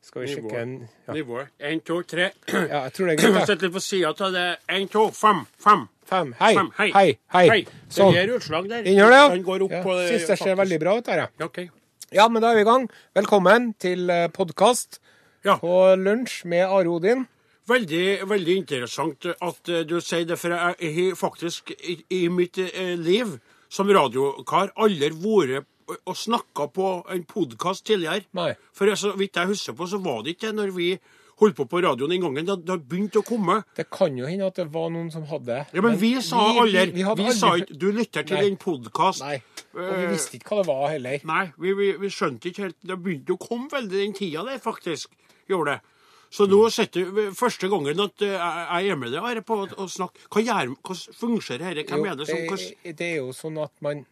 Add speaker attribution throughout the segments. Speaker 1: Skal vi sjekke en ja.
Speaker 2: Nivået. Én, to, tre.
Speaker 1: ja, jeg tror det er greit. da.
Speaker 2: Sett litt på sida av det. Én, to, fem, fem.
Speaker 1: Fem. Hei,
Speaker 2: Fem.
Speaker 1: hei, hei.
Speaker 2: Sånn.
Speaker 1: Sånn.
Speaker 2: Det gir utslag der.
Speaker 1: Den gjør det,
Speaker 2: Den går opp
Speaker 1: ja.
Speaker 2: på det.
Speaker 1: Syns det ser veldig bra ut her, ja.
Speaker 2: Ja, OK.
Speaker 1: Ja, men da er vi i gang. Velkommen til podkast
Speaker 2: Ja.
Speaker 1: på lunsj med Are Odin.
Speaker 2: Veldig, veldig interessant at eh, du sier det, for jeg har faktisk i, i mitt eh, liv som radiokar aldri vært og- og snakka på en podkast tidligere.
Speaker 1: Nei.
Speaker 2: For jeg- så vidt jeg husker på, så var det ikke det når vi holdt på på radioen den gangen. Det det har begynt å komme.
Speaker 1: Det kan jo hende at det var noen som hadde
Speaker 2: Ja, Men vi sa
Speaker 1: vi-
Speaker 2: aldri
Speaker 1: Vi, vi, hadde
Speaker 2: Vi
Speaker 1: aldri-
Speaker 2: sa ikke Du lytter til
Speaker 1: Nei.
Speaker 2: en podkast.
Speaker 1: Nei. Og vi visste ikke hva det var heller.
Speaker 2: Nei, vi, vi, vi skjønte ikke helt Det begynte å komme veldig den tida der, faktisk. Gjorde det. Så nå sitter vi første gangen at eh, jeg jeg er med deg Are, på å å snakke Hva gjør, hvordan fungerer dette? Hvem
Speaker 1: Jo,
Speaker 2: er det som hvordan,
Speaker 1: det, det er jo sånn at man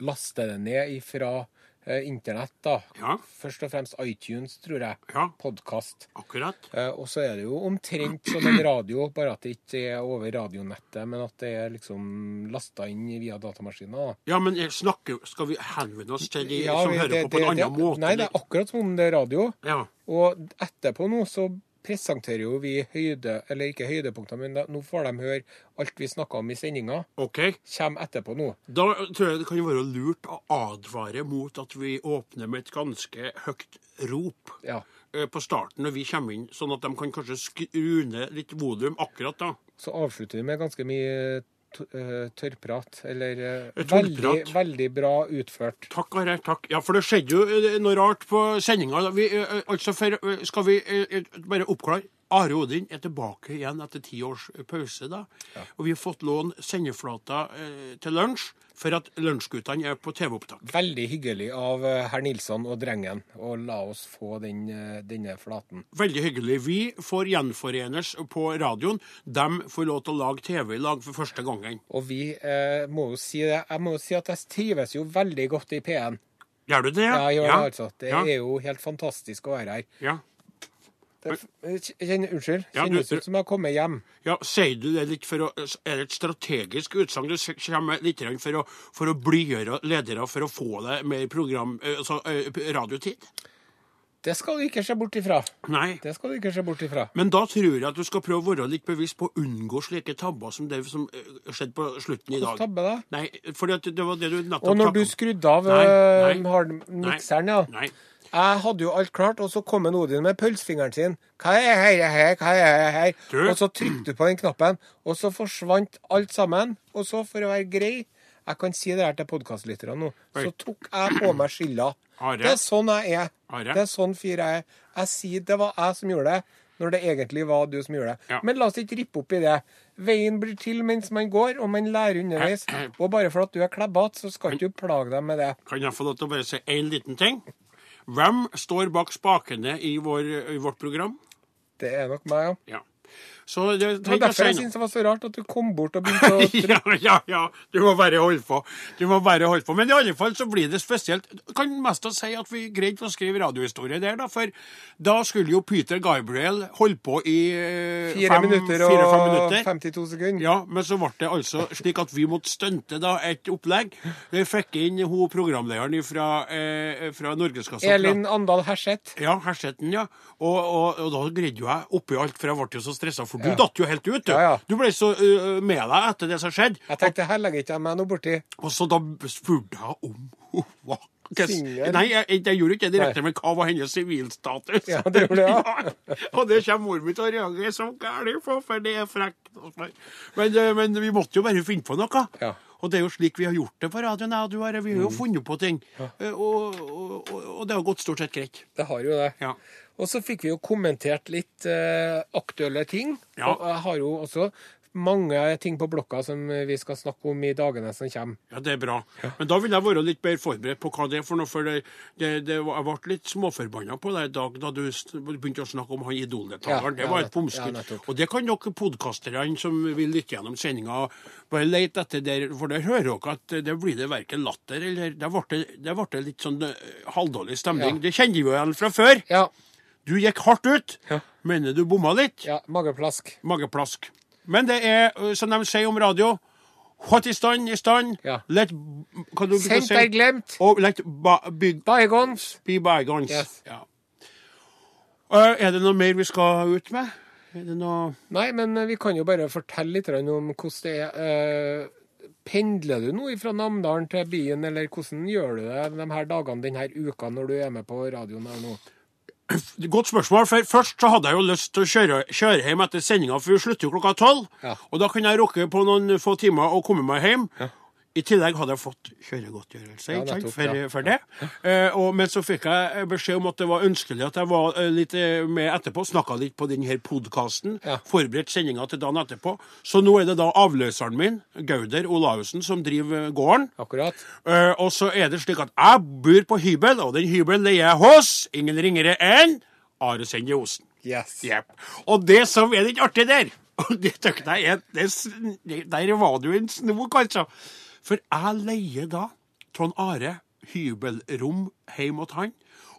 Speaker 1: laster det ned ifra eh, internett, da.
Speaker 2: Ja.
Speaker 1: Først og fremst iTunes, tror jeg.
Speaker 2: Ja.
Speaker 1: Podkast.
Speaker 2: Akkurat.
Speaker 1: Eh, og så er det jo omtrent som en radio, bare at det ikke er over radionettet, men at det er liksom lasta inn via datamaskiner. da.
Speaker 2: Ja, men jeg snakker, skal vi henvende oss til de
Speaker 1: Ja,
Speaker 2: som
Speaker 1: vi-
Speaker 2: hører
Speaker 1: det-
Speaker 2: på på en
Speaker 1: det-
Speaker 2: annen
Speaker 1: det-
Speaker 2: måte?
Speaker 1: Nei, det er akkurat som om det er radio.
Speaker 2: ja.
Speaker 1: Og etterpå nå så presenterer jo vi høyde, eller ikke høydepunkter, men da, nå får de høre alt vi snakka om i sendinga.
Speaker 2: OK.
Speaker 1: Kjem etterpå nå.
Speaker 2: Da tror jeg det kan være lurt å advare mot at vi åpner med et ganske høyt rop
Speaker 1: Ja.
Speaker 2: eh, på starten når vi kommer inn, sånn at de kan kanskje skru ned litt volum akkurat da.
Speaker 1: Så avslutter vi med ganske mye t- eh, tørrprat, eller eh,
Speaker 2: Tørrprat.
Speaker 1: Veldig, veldig bra utført.
Speaker 2: Takk, Are. Takk. Ja, for det skjedde jo eh, noe rart på sendinga. Vi, eh, altså, for, eh, skal vi eh, bare oppklare? Are Odin er tilbake igjen etter ti års eh, pause, da. Og vi har fått låne sendeflata eh, til lunsj, for at lunsjguttene er på TV-opptak.
Speaker 1: Veldig hyggelig av eh, herr Nilsson og drengen å la oss få den, eh, denne flaten.
Speaker 2: Veldig hyggelig. Vi får gjenforenes på radioen. De får lov til å lage TV i lag for første gangen.
Speaker 1: Og vi eh, må jo si det. Jeg må jo si at jeg trives jo veldig godt i P1.
Speaker 2: Gjør du det?
Speaker 1: Ja, jeg gjør det, altså. Det
Speaker 2: ja.
Speaker 1: er jo helt fantastisk å være her.
Speaker 2: Ja.
Speaker 1: Det er f- Kjenn, unnskyld.
Speaker 2: Ja, du-
Speaker 1: Kjennes ut som jeg har kommet hjem.
Speaker 2: Ja, Sier du det litt for å Er det et strategisk utsagn du s- kommer med litt grann for å, for å blidgjøre ledere for å få deg mer program, eh, altså eh, radiotid?
Speaker 1: Det skal du ikke se bort ifra.
Speaker 2: Nei.
Speaker 1: Det skal du ikke se bort ifra.
Speaker 2: Men da tror jeg at du skal prøve å være litt bevisst på å unngå slike tabber som det som eh, skjedde på slutten i
Speaker 1: Hvilken
Speaker 2: dag.
Speaker 1: tabbe da?
Speaker 2: Nei, fordi at det var det du nettopp
Speaker 1: Og når
Speaker 2: snakket
Speaker 1: du
Speaker 2: om.
Speaker 1: skrudde av
Speaker 2: Nei,
Speaker 1: eh,
Speaker 2: nei,
Speaker 1: har- mikseren, ja
Speaker 2: Nei.
Speaker 1: Jeg hadde jo alt klart, og så kom en Odin med pølsefingeren sin. Hva er her, her, hva er her?
Speaker 2: Du-
Speaker 1: Og så trykte du på den knappen, og så forsvant alt sammen. Og så, for å være grei, jeg kan si det her til podkastlytterne nå, så
Speaker 2: Oi.
Speaker 1: tok jeg på meg skylda.
Speaker 2: Are.
Speaker 1: Det er sånn jeg er.
Speaker 2: Are.
Speaker 1: Det er sånn fyr jeg er. Jeg sier det var jeg som gjorde det, når det egentlig var du som gjorde det.
Speaker 2: Ja.
Speaker 1: Men la oss ikke rippe opp i det. Veien blir til mens man går, og man lærer underveis. Og bare for at du er klebbete, så skal ikke du plage deg med det.
Speaker 2: Kan jeg få lov til å bare si én liten ting? Hvem står bak spakene i, vår, i vårt program?
Speaker 1: Det er nok meg, ja.
Speaker 2: Ja. Så det,
Speaker 1: Det var
Speaker 2: tenker
Speaker 1: derfor
Speaker 2: jeg
Speaker 1: jeg
Speaker 2: si nå.
Speaker 1: syntes det var så rart at du kom bort og begynte å
Speaker 2: ja, ja, ja. Du må bare holde på. Du må bare holde på. Men i alle fall så blir det spesielt. Kan mest av si at vi greide å skrive radiohistorie der, da. For da skulle jo Peter Gabriel holde på i eh,
Speaker 1: Fire
Speaker 2: fem,
Speaker 1: minutter og
Speaker 2: fire, fem minutter.
Speaker 1: 52 sekunder.
Speaker 2: Ja, men så ble det altså slik at vi måtte stunte da et opplegg. Vi fikk inn hun programlederen fra, eh, fra Norgeskassa.
Speaker 1: Elin Andal Herseth.
Speaker 2: Ja, Herseten, ja. Og, og, og da greide jo jeg oppi alt, for jeg ble jo så stressa, for du datt jo helt ut, du.
Speaker 1: Ja, ja.
Speaker 2: Du ble så ø, med deg etter det som skjedde.
Speaker 1: Jeg tenkte her legger ikke jeg meg noe borti.
Speaker 2: Og så da spurte jeg om hun var
Speaker 1: Singel?
Speaker 2: Nei, jeg, jeg, jeg gjorde ikke det direkte, men hva var hennes sivilstatus?
Speaker 1: Ja, det gjorde det, ja.
Speaker 2: Og det kommer mor mi til å reagere som gæren på, for det er frekt. Men, eh, men vi måtte jo bare finne på noe.
Speaker 1: Ja. Mm.
Speaker 2: Og det er jo slik vi har gjort det på radioen. jeg og du, Are. Vi har jo funnet på ting. Eh, Og, og, og, og det har gått stort sett greit.
Speaker 1: Det har jo det.
Speaker 2: Ja.
Speaker 1: Og så fikk vi jo kommentert litt eh, aktuelle ting.
Speaker 2: Ja.
Speaker 1: Og jeg har jo også mange ting på blokka som vi skal snakke om i dagene som kommer.
Speaker 2: Ja, det er bra. Men da vil jeg være litt bedre forberedt på hva det er for noe. For det, det, det, var- jeg ble litt småforbanna på deg i dag da du st- begynte å snakke om han
Speaker 1: Ja,
Speaker 2: idoldeltakeren. det
Speaker 1: ja,
Speaker 2: var et
Speaker 1: nett-
Speaker 2: bomskudd.
Speaker 1: ja, nettopp.
Speaker 2: og det kan dere podkasterne som vil lytte gjennom sendinga, bare lete etter der. For der hører dere at det blir det verken latter eller Der ble det, der ble det litt sånn eh, halvdårlig stemning.
Speaker 1: Ja.
Speaker 2: Det kjenner vi jo igjen fra før.
Speaker 1: Ja.
Speaker 2: Du gikk hardt ut.
Speaker 1: Ja.
Speaker 2: Mener du bomma litt?
Speaker 1: ja. Mageplask.
Speaker 2: Mageplask. Men det er, eh, som de sier om radio, what is done is done.
Speaker 1: Ja.
Speaker 2: Let, hva du bruker å
Speaker 1: Sendt
Speaker 2: si?
Speaker 1: er glemt.
Speaker 2: Og let ba, big
Speaker 1: Bygons.
Speaker 2: be bygones.
Speaker 1: Yes.
Speaker 2: Ja. Eh, Er det noe mer vi skal ut med? Er det noe
Speaker 1: Nei, men eh, vi kan jo bare fortelle litt grann om hvordan det er. Eh, Pendler du nå fra Namdalen til byen, eller hvordan gjør du det de her dagene denne uka når du er med på radioen her nå?
Speaker 2: Godt spørsmål. for Først så hadde jeg jo lyst til å kjøre, kjøre hjem etter sendinga, for vi slutter jo klokka tolv.
Speaker 1: Ja.
Speaker 2: Og da kunne jeg rocke på noen få timer og komme meg hjem. I tillegg hadde jeg fått kjøregodtgjørelse
Speaker 1: Ja,
Speaker 2: ikke sant,
Speaker 1: nettopp,
Speaker 2: for,
Speaker 1: ja.
Speaker 2: for det. Eh, og, men så fikk jeg beskjed om at det var ønskelig at jeg var eh, litt eh, med etterpå. Snakka litt på denne podkasten.
Speaker 1: Ja.
Speaker 2: Forberedt sendinga til dagen etterpå. Så nå er det da avløseren min, Gauder Olaussen, som driver eh, gården.
Speaker 1: Akkurat.
Speaker 2: Eh, og så er det slik at jeg bor på hybel, og den hybelen leier jeg hos ingen ringere enn Are Sende Osen.
Speaker 1: Yes.
Speaker 2: Jep. Og det som er litt artig der og det tøkte jeg er, det, sn- Der var det jo en snok, altså. For jeg leier da Trond Are hybelrom hjemme hos han.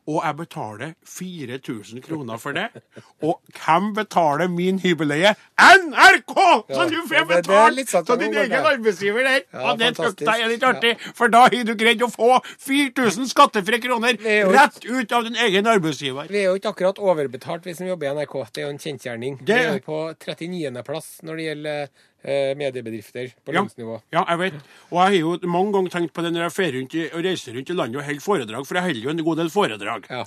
Speaker 2: Og jeg betaler 4000 kroner for det. Og hvem betaler min hybelleie? NRK! Så
Speaker 1: Ja,
Speaker 2: du
Speaker 1: det-
Speaker 2: får
Speaker 1: det er litt
Speaker 2: betalt
Speaker 1: sant,
Speaker 2: av
Speaker 1: det
Speaker 2: din
Speaker 1: går
Speaker 2: egen
Speaker 1: der.
Speaker 2: arbeidsgiver der.
Speaker 1: Ja,
Speaker 2: og det
Speaker 1: fantastisk.
Speaker 2: tøkte jeg er litt artig, for da har du greid å få 4000 skattefrie kroner
Speaker 1: er jo-
Speaker 2: rett ut av din egen arbeidsgiver.
Speaker 1: Vi er jo ikke akkurat overbetalt, vi som jobber i NRK. Det er jo en kjensgjerning.
Speaker 2: Det
Speaker 1: Vi
Speaker 2: er-
Speaker 1: er jo på 39.-plass når det gjelder eh, mediebedrifter på
Speaker 2: Ja.
Speaker 1: lønnsnivå.
Speaker 2: Ja, jeg vet. Og jeg har jo mange ganger tenkt på det når jeg fer rundt i, og reiser rundt i landet og holder foredrag, for jeg holder jo en god del foredrag.
Speaker 1: Ja.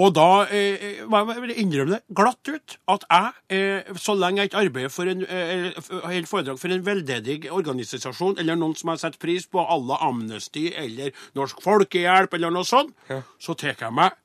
Speaker 2: Og da eh, må jeg bare innrømme det glatt ut at jeg, eh, så lenge jeg ikke arbeider for en, eh, f- holder foredrag for en veldedig organisasjon, eller noen som jeg setter pris på, à la Amnesty eller Norsk Folkehjelp eller noe sånt, så tar jeg meg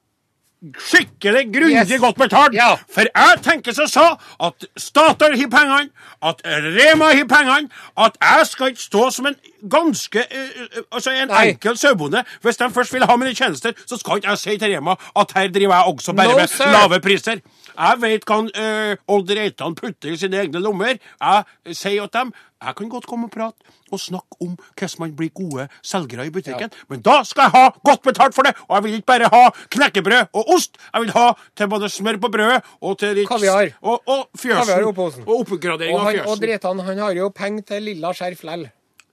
Speaker 2: skikkelig grundig
Speaker 1: Yes.
Speaker 2: godt betalt.
Speaker 1: Ja.
Speaker 2: For jeg tenker som så at Statoil har pengene, at Rema har pengene, at jeg skal ikke stå som en ganske eh, eh, Altså en
Speaker 1: Nei.
Speaker 2: enkel sauebonde. Hvis de først vil ha mine tjenester, så skal ikke jeg si til Rema at her driver jeg også bare
Speaker 1: No,
Speaker 2: med
Speaker 1: sir.
Speaker 2: lave priser. Jeg vet hva han, eh, Odd Reitan putter i sine egne lommer. Jeg sier til dem jeg kan godt komme og prate og snakke om hvordan man blir gode selgere i butikken, men da skal jeg ha godt betalt for det! Og jeg vil ikke bare ha knekkebrød og ost, jeg vil ha til både smør på brødet og til litt
Speaker 1: Kaviar.
Speaker 2: Og, og fjøsen.
Speaker 1: Kaviar i posen.
Speaker 2: Og oppgradering
Speaker 1: Og,
Speaker 2: av
Speaker 1: han, og
Speaker 2: fjøsen.
Speaker 1: Dretan han har jo penger til lilla skjerf lell.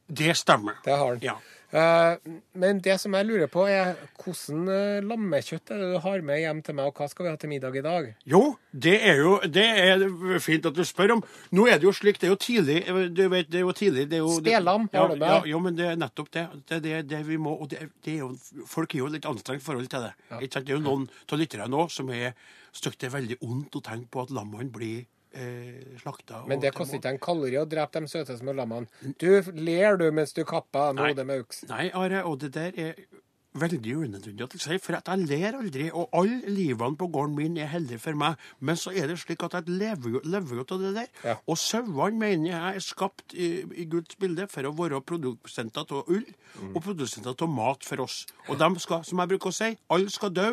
Speaker 2: Det stemmer.
Speaker 1: Det har han.
Speaker 2: Ja.
Speaker 1: Eh, men det som jeg lurer på, er hvordan eh, lammekjøtt er det du har med hjem til meg, og hva skal vi ha til middag i dag?
Speaker 2: Jo, det er jo det er fint at du spør om. Nå er det jo slik, det er jo tidlig du vet, det er jo tidlig, det er jo...
Speaker 1: Spelam,
Speaker 2: ja,
Speaker 1: har du med?
Speaker 2: ja, Jo, men det er nettopp det. Det er det, det vi må og det, er- det er jo, Folk er jo litt anstrengt i forhold til det. Ikke sant? Det er jo noen av lytterne nå som er stygt det er veldig ondt å tenke på at lammene blir eh, slakta. og
Speaker 1: Men det
Speaker 2: til
Speaker 1: koster
Speaker 2: må-
Speaker 1: ikke en kalori å drepe de søte små lammene. Du ler du mens du kapper en hode med øks.
Speaker 2: Nei, Are, og det der er veldig unødvendig at jeg sier, for at jeg ler aldri, og alle livene på gården min er heldige for meg. Men så er det slik at jeg lever jo, lever jo av det der.
Speaker 1: Ja.
Speaker 2: Og sauene mener jeg er skapt i, i Guds bilde for å være produsenter av ull og produsenter av mat for oss. Og de skal, som jeg bruker å si, alle skal dø,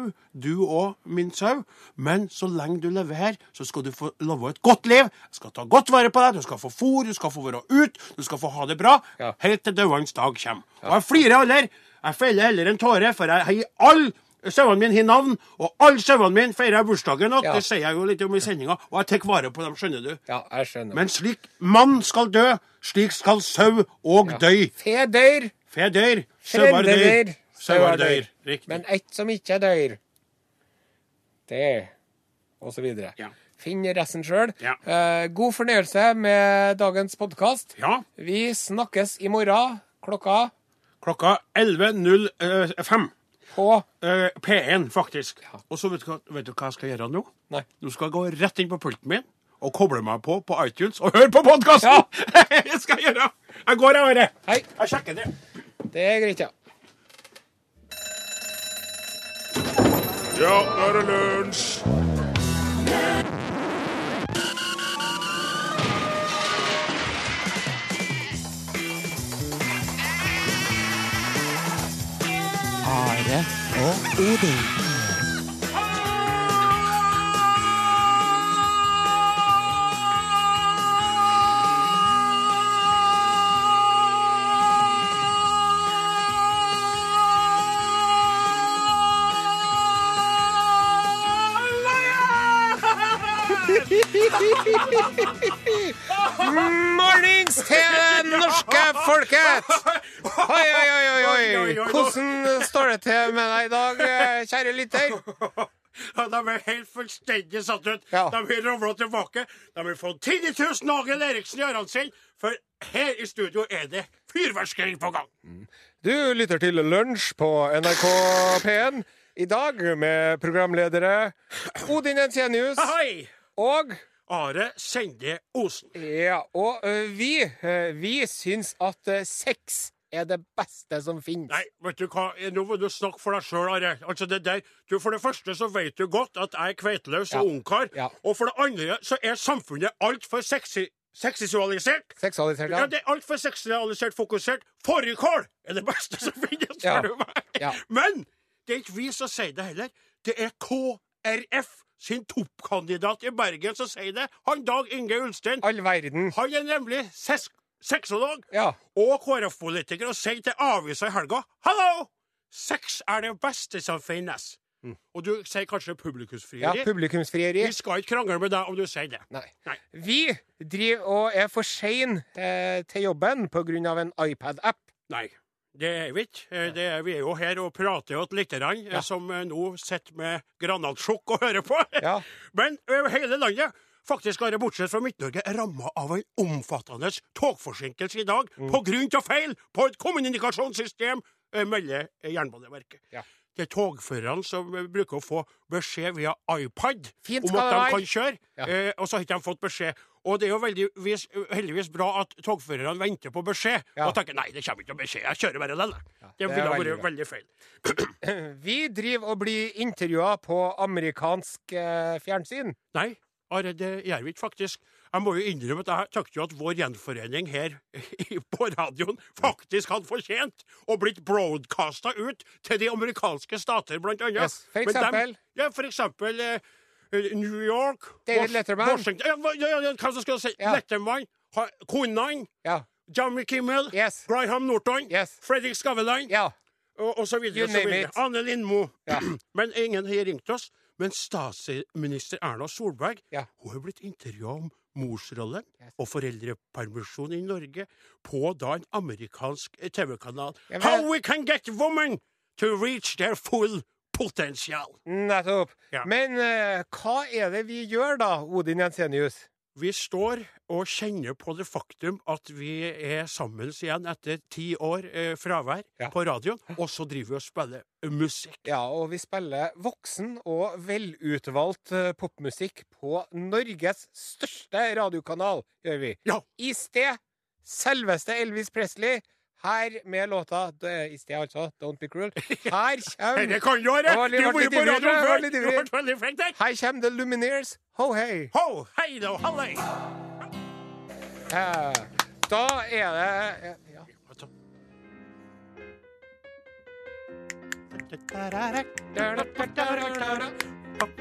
Speaker 2: du og min sau. Men så lenge du lever her, så skal du få leve et godt liv. Jeg skal ta godt vare på deg, du skal få fôr, du skal få være ute, du skal få ha det bra.
Speaker 1: Ja.
Speaker 2: Helt til dødens dag kommer. Og jeg flirer aldri. Jeg feller heller en tåre, for jeg har alle sauene mine har navn, og alle sauene mine feirer jeg bursdagen òg.
Speaker 1: Ja.
Speaker 2: Det sier jeg jo litt om i sendinga, og jeg tar vare på dem, skjønner du.
Speaker 1: Ja, jeg skjønner.
Speaker 2: Men slik mann skal dø, slik skal sau og døy.
Speaker 1: Fe dør,
Speaker 2: Fe dør, sauer
Speaker 1: frende
Speaker 2: dør,
Speaker 1: dør,
Speaker 2: sauer dør. Riktig.
Speaker 1: Men ett som ikke dør, det Og så videre.
Speaker 2: Ja.
Speaker 1: Finn resten sjøl.
Speaker 2: Ja.
Speaker 1: Eh, god fornøyelse med dagens podkast.
Speaker 2: Ja,
Speaker 1: Vi snakkes i morgen klokka
Speaker 2: klokka eh, 11.05.
Speaker 1: på
Speaker 2: Eh, P1, faktisk. Og så vet du, hva, vet du hva jeg skal gjøre nå?
Speaker 1: Nei.
Speaker 2: Du skal gå rett inn på pulten min og koble meg på på iTunes og høre på podkasten! jeg skal gjøre Jeg går, jeg, Are.
Speaker 1: Hei.
Speaker 2: Jeg sjekker det.
Speaker 1: Det er greit, ja.
Speaker 3: Ja, nå er det lunsj!
Speaker 4: Are og Odin.
Speaker 1: Mornings til det norske folket! Oi, oi, oi, oi,
Speaker 2: Oi, oi,
Speaker 1: oi.
Speaker 2: oi.
Speaker 1: Hvordan står det til med deg i dag, eh, kjære lytter?
Speaker 2: Ja, De er helt fullstendig satt ut.
Speaker 1: Ja.
Speaker 2: De har ravla tilbake. De har fått 10 000 Nagel Eriksen i ørene sine, for her i studio er det fyrverkeri på gang.
Speaker 1: Du lytter til Lunsj på NRK P1. I dag med programledere Odin Ensenius
Speaker 2: Hei!
Speaker 1: og
Speaker 2: Are Sende Osen.
Speaker 1: Ja, og ø, vi, ø, vi syns at ø, sex er det beste som finnes.
Speaker 2: Nei, vet du hva, nå må du snakke for deg sjøl, Are. Altså det der, du, For det første så vet du godt at jeg er kveiteløs og
Speaker 1: Ja.
Speaker 2: ungkar.
Speaker 1: Ja.
Speaker 2: Og for det andre så er samfunnet altfor sexy, sexisualisert.
Speaker 1: Seksualisert,
Speaker 2: Ja,
Speaker 1: ja.
Speaker 2: det er altfor seksualisert fokusert. Fårikål er det beste som finnes,
Speaker 1: Ja.
Speaker 2: spør du meg.
Speaker 1: Ja.
Speaker 2: Men det er ikke vi som sier det heller. Det er KrF sin toppkandidat i Bergen som sier det. Han Dag Inge Ulstein.
Speaker 1: All verden.
Speaker 2: Han er nemlig ses sexolog
Speaker 1: Ja.
Speaker 2: og KrF-politiker og sier til avisa i helga Hallo! Sex er det beste som finnes. Og du sier kanskje
Speaker 1: Mm. ja
Speaker 2: publikumsfrieri.
Speaker 1: Publikumsfrieri.
Speaker 2: vi skal ikke krangle med deg om du sier det.
Speaker 1: Nei.
Speaker 2: Nei.
Speaker 1: Vi driver og er for sein eh, til jobben pga. en iPad-app.
Speaker 2: Nei, det er vi ikke. Eh, Det er, vi er jo her og prater åt lite grann, eh, som eh, nå sitter med granatsjokk og hører på.
Speaker 1: Ja.
Speaker 2: Men eh, hele landet, faktisk bare bortsett fra Midt-Norge, er ramma av en omfattende togforsinkelse i dag
Speaker 1: Mm.
Speaker 2: på grunn av feil på et kommunikasjonssystem, eh, melder eh, Jernbaneverket.
Speaker 1: Ja.
Speaker 2: Det er togførerne som eh, bruker å få beskjed via iPad
Speaker 1: Fint
Speaker 2: om
Speaker 1: skal
Speaker 2: at
Speaker 1: det
Speaker 2: de
Speaker 1: være.
Speaker 2: kan kjøre,
Speaker 1: Ja.
Speaker 2: eh, og så har ikke de fått beskjed. Og det er jo veldigvis, heldigvis bra at togførerne venter på beskjed,
Speaker 1: Ja.
Speaker 2: og tenker nei, det kommer ikke noe beskjed, jeg kjører bare den. jeg».
Speaker 1: det
Speaker 2: det
Speaker 1: er
Speaker 2: ville ha
Speaker 1: veldig
Speaker 2: vært
Speaker 1: bra.
Speaker 2: veldig feil.
Speaker 1: Vi driver og blir intervjua på amerikansk eh, fjernsyn.
Speaker 2: Nei, Are, det gjør vi ikke faktisk. Jeg må jo innrømme at jeg tenkte jo at vår gjenforening her i- på radioen faktisk hadde fortjent å blitt broadcasta ut til de amerikanske stater, blant annet.
Speaker 1: Yes, for
Speaker 2: Men dem-
Speaker 1: eksempel?
Speaker 2: ja, for eksempel eh, eh, New York
Speaker 1: David
Speaker 2: Wash-
Speaker 1: Letterman.
Speaker 2: Washington ja, hva- ja, ja, ja, Hva skal jeg si?
Speaker 1: Ja.
Speaker 2: Letterman. ha- Conan.
Speaker 1: Ja.
Speaker 2: Jamie Kimmel,
Speaker 1: Yes.
Speaker 2: Graham Norton,
Speaker 1: Yes.
Speaker 2: Fredrik Skavlan
Speaker 1: ja.
Speaker 2: og, og så videre.
Speaker 1: You
Speaker 2: og så
Speaker 1: name
Speaker 2: videre.
Speaker 1: it.
Speaker 2: Anne Lindmo.
Speaker 1: Ja.
Speaker 2: Men ingen har ringt oss. Men statsminister Erna Solberg
Speaker 1: Ja.
Speaker 2: hun har blitt intervjua om morsrollen
Speaker 1: Yes.
Speaker 2: og foreldrepermisjon i Norge på da en amerikansk eh, TV-kanal.
Speaker 1: Ja, men-
Speaker 2: How we can get women to reach their full potential.
Speaker 1: Nettopp.
Speaker 2: Ja.
Speaker 1: Men eh, hva er det vi gjør da, Odin Jensenius?
Speaker 2: Vi står og kjenner på det faktum at vi er sammen igjen etter ti år eh, fravær
Speaker 1: Ja.
Speaker 2: på radioen, og så driver vi og spiller musikk.
Speaker 1: Ja, og vi spiller voksen og velutvalgt eh, popmusikk på Norges største radiokanal, gjør vi.
Speaker 2: Ja,
Speaker 1: I sted selveste Elvis Presley. Her med låta d- I sted, altså. Don't be cruel. Her
Speaker 2: Dette
Speaker 1: kommer
Speaker 2: kan du, Are!
Speaker 1: Mm. Det var
Speaker 2: Du
Speaker 1: litt- litt
Speaker 2: har vært på
Speaker 1: ivrig,
Speaker 2: radioen
Speaker 1: jeg var
Speaker 2: før!
Speaker 1: litt
Speaker 2: Du
Speaker 1: ivrig.
Speaker 2: ble veldig flink der!
Speaker 1: Her kommer The Lumineers. Ho hei!
Speaker 2: Ho, hei da, hallei!
Speaker 1: Eh, Da er det ja.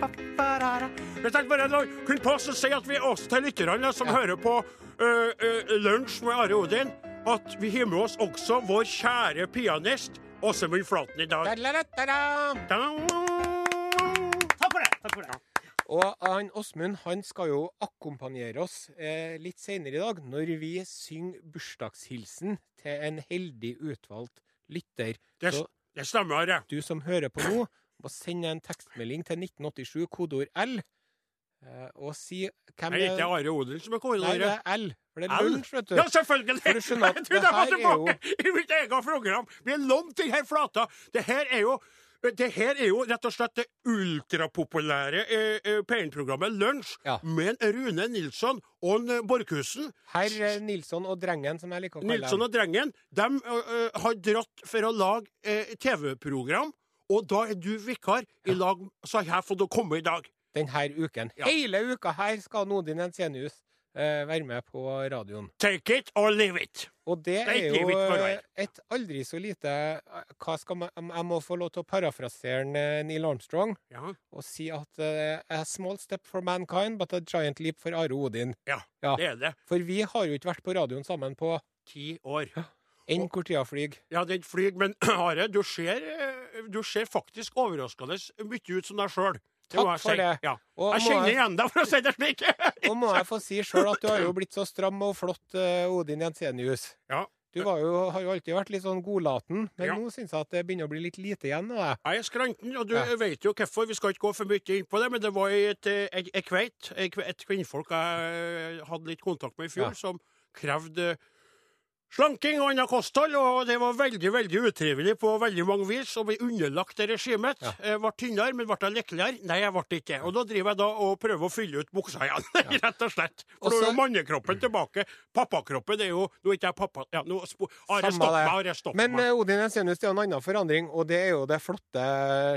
Speaker 2: Jeg tenkte bare å kunne passe å si at vi også til lytterne som hører på øh, øh, Lunsj med Are Odin, at vi har med oss også vår kjære pianist Åsemund Flaten i dag.
Speaker 1: Da-da-da-da-da.
Speaker 2: Takk for det. takk for det.
Speaker 1: Og han Åsmund han skal jo akkompagnere oss eh, litt senere i dag, når vi synger bursdagshilsen til en heldig utvalgt lytter.
Speaker 2: Det,
Speaker 1: Så
Speaker 2: det stemmer, Are.
Speaker 1: du som hører på nå, må sende en tekstmelding til 1987, kodeord L, eh, og si hvem
Speaker 2: Det er ikke Are Odin som er
Speaker 1: Nei, det
Speaker 2: koordinator.
Speaker 1: er L. For det er
Speaker 2: Al?
Speaker 1: lunsj, vet du.
Speaker 2: Ja, selvfølgelig!
Speaker 1: For du skjønner at
Speaker 2: Jeg
Speaker 1: det
Speaker 2: trodde jeg var
Speaker 1: her er
Speaker 2: tilbake i mitt eget program! Vi er langt til her flata! Det her er jo det her er jo rett og slett det ultrapopulære eh, eh, P1-programmet Lunsj
Speaker 1: Ja.
Speaker 2: med en Rune Nilsson og en eh, Borchhusen.
Speaker 1: Herr eh, Nilsson og Drengen, som jeg liker å kalle
Speaker 2: Nilsson og Drengen de eh, eh, har dratt for å lage eh, TV-program, og da er du vikar i lag, så har jeg fått å komme i dag.
Speaker 1: denne uken.
Speaker 2: Ja.
Speaker 1: Hele uka her skal Nodin Ensenius eh, være med på radioen.
Speaker 2: Take it or leave it.
Speaker 1: Og det
Speaker 2: Nei,
Speaker 1: er
Speaker 2: livet
Speaker 1: jo
Speaker 2: ikke
Speaker 1: eh,
Speaker 2: bare
Speaker 1: et aldri så lite eh, hva skal man, Jeg må få lov til å parafrasere en, eh, Neil Armstrong
Speaker 2: Ja.
Speaker 1: og si at eh, A small step for mankind, but a giant leap for Are Odin.
Speaker 2: ja,
Speaker 1: Ja.
Speaker 2: det er det.
Speaker 1: For vi har jo ikke vært på radioen sammen på
Speaker 2: Ti år.
Speaker 1: enn hvor tida flyr.
Speaker 2: Ja, den flyr, men Are, du ser, eh, du ser faktisk overraskende mye ut som deg sjøl.
Speaker 1: Takk for det.
Speaker 2: Ja.
Speaker 1: Og
Speaker 2: jeg
Speaker 1: må
Speaker 2: kjenner
Speaker 1: jeg-
Speaker 2: igjen deg, for å si det slik.
Speaker 1: Og må jeg få si sjøl at du har jo blitt så stram og flott, eh, Odin Jensenius.
Speaker 2: ja.
Speaker 1: Du var jo, har jo alltid vært litt sånn godlaten, men
Speaker 2: Ja.
Speaker 1: nå syns jeg at det begynner å bli litt lite igjen av deg.
Speaker 2: Jeg er skranten, og du vet jo hvorfor. Vi skal ikke gå for mye inn på det, men det var et, eh, et, et kveit, et, kve- et kvinnfolk jeg eh, hadde litt kontakt med i fjor,
Speaker 1: Ja.
Speaker 2: som krevde slanking og annet kosthold, og det var veldig, veldig utrivelig på veldig mange vis å bli underlagt det regimet. Jeg ble tynnere, men ble jeg lykkeligere? Nei, jeg ble ikke det. Og da driver jeg da og prøver å fylle ut buksa igjen, rett og slett. For nå er
Speaker 1: Også-
Speaker 2: jo mannekroppen tilbake. Pappakroppen det er jo Nå er ikke jeg pappa... Ja, nå spo- Are, stopp meg, Are, stopp
Speaker 1: Men
Speaker 2: meg.
Speaker 1: eh, Odin Ensenius, det er en annen forandring, og det er jo det flotte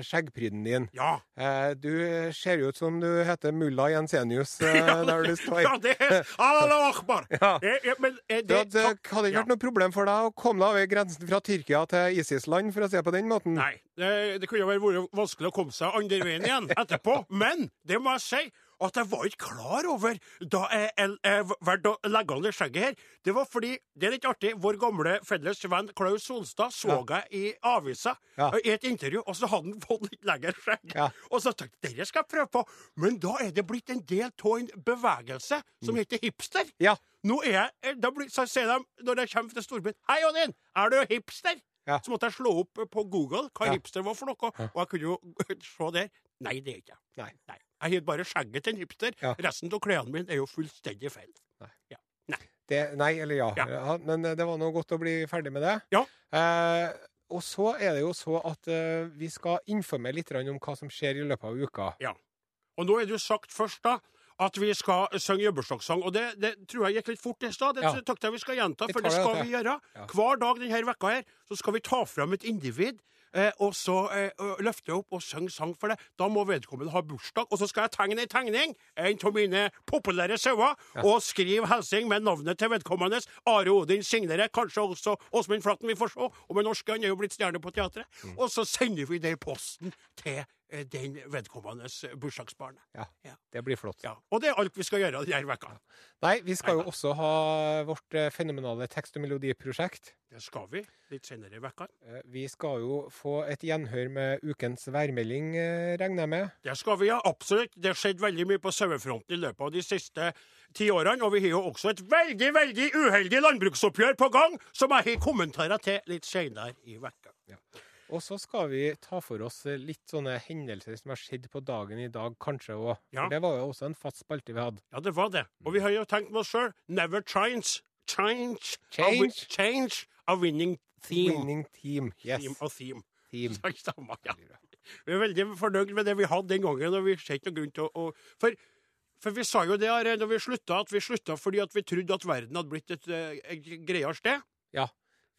Speaker 1: skjeggpryden din.
Speaker 2: Ja.
Speaker 1: Eh, Du ser jo ut som du heter mulla Jensenius eh, der du står.
Speaker 2: Ja, det er Allah akbar!
Speaker 1: Ja.
Speaker 2: Eh, eh, Men eh,
Speaker 1: Det
Speaker 2: det
Speaker 1: hadde det hadde ikke vært noe problem for deg å komme deg over grensen fra Tyrkia til ISIS-land, for å si det på den måten.
Speaker 2: Nei, det, det kunne vel vært vanskelig å komme seg andre veien igjen etterpå. Men det må jeg si at jeg var ikke klar over da jeg, jeg, jeg valgte å legge an det skjegget her. Det var fordi, det er litt artig, vår gamle felles venn Klaus Solstad så jeg i avisa
Speaker 1: Ja.
Speaker 2: eh, i et intervju, og så hadde han fått litt lengre skjegg.
Speaker 1: Ja.
Speaker 2: Og så tenkte jeg dette skal jeg prøve på. Men da er det blitt en del av en bevegelse som
Speaker 1: Mm.
Speaker 2: heter hipster.
Speaker 1: Ja.
Speaker 2: Nå er jeg, eh, da blir, så ser de når jeg kommer til storbyen Hei, Odin! Er du hipster?
Speaker 1: Ja.
Speaker 2: Så måtte jeg slå opp på Google hva
Speaker 1: Ja.
Speaker 2: hipster var for noe, og jeg kunne jo se der. Nei, det er ikke jeg.
Speaker 1: Nei.
Speaker 2: Nei. Jeg har bare skjegget til en hipster.
Speaker 1: Ja.
Speaker 2: Resten av klærne mine er jo fullstendig feil.
Speaker 1: Det, nei, eller ja.
Speaker 2: Ja.
Speaker 1: Ja, Men eh, det var nå godt å bli ferdig med det.
Speaker 2: Ja.
Speaker 1: Eh, og så er det jo så at eh, vi skal informere litt grann om hva som skjer i løpet av uka.
Speaker 2: Ja. Og nå er det jo sagt først, da. At vi skal synge jubileumssang. Og det, det tror jeg gikk litt fort i stad. Det
Speaker 1: Ja.
Speaker 2: tror jeg takk til at vi skal gjenta,
Speaker 1: Vi
Speaker 2: for
Speaker 1: tar
Speaker 2: det
Speaker 1: det,
Speaker 2: skal
Speaker 1: vet
Speaker 2: vi
Speaker 1: jeg.
Speaker 2: gjøre.
Speaker 1: Ja.
Speaker 2: Hver dag denne vekka her så skal vi ta fram et individ, eh, og så eh, ø- løfte opp og synge sang for det. Da må vedkommende ha bursdag. Og så skal jeg tegne ei tegning, en av mine populære sauer, og skrive hilsen med navnet til vedkommende. Are Odin signere, kanskje også Åsmund Flatten, vi får se. Og med norske, han er jo blitt stjerne på teatret. Og så sender vi det i posten til eh, den vedkommendes eh, bursdagsbarn.
Speaker 1: Ja.
Speaker 2: Ja.
Speaker 1: Det blir flott.
Speaker 2: Ja, Og det er alt vi skal gjøre denne uka.
Speaker 1: Nei, vi skal jo også ha vårt eh, fenomenale tekst- og melodiprosjekt.
Speaker 2: Det skal vi litt senere i uka.
Speaker 1: Eh, Vi skal jo få et gjenhør med ukens værmelding, eh, regner jeg med.
Speaker 2: Det skal vi, ja. Absolutt. Det har skjedd veldig mye på sauefronten i løpet av de siste ti årene. Og vi har jo også et veldig, veldig uheldig landbruksoppgjør på gang, som jeg har kommentarer til litt senere i uka.
Speaker 1: Og så skal vi ta for oss eh, litt sånne hendelser som har skjedd på dagen i dag, kanskje òg.
Speaker 2: Ja.
Speaker 1: For det var jo også en fast spalte vi hadde.
Speaker 2: Ja, det var det. Og vi har jo tenkt med oss sjøl. Never change. Change. a wi-
Speaker 1: Change.
Speaker 2: change a winning theme.
Speaker 1: Winning team. Yes. Mm.
Speaker 2: Theme og theme.
Speaker 1: Team.
Speaker 2: Takk, samme, ja. Vi er veldig fornøyd med det vi hadde den gangen. og vi ser ikke noen grunn til å... å for, for vi sa jo det her, når vi slutta, at vi slutta fordi at vi trodde at verden hadde blitt et, eh, et greiere sted.
Speaker 1: Ja.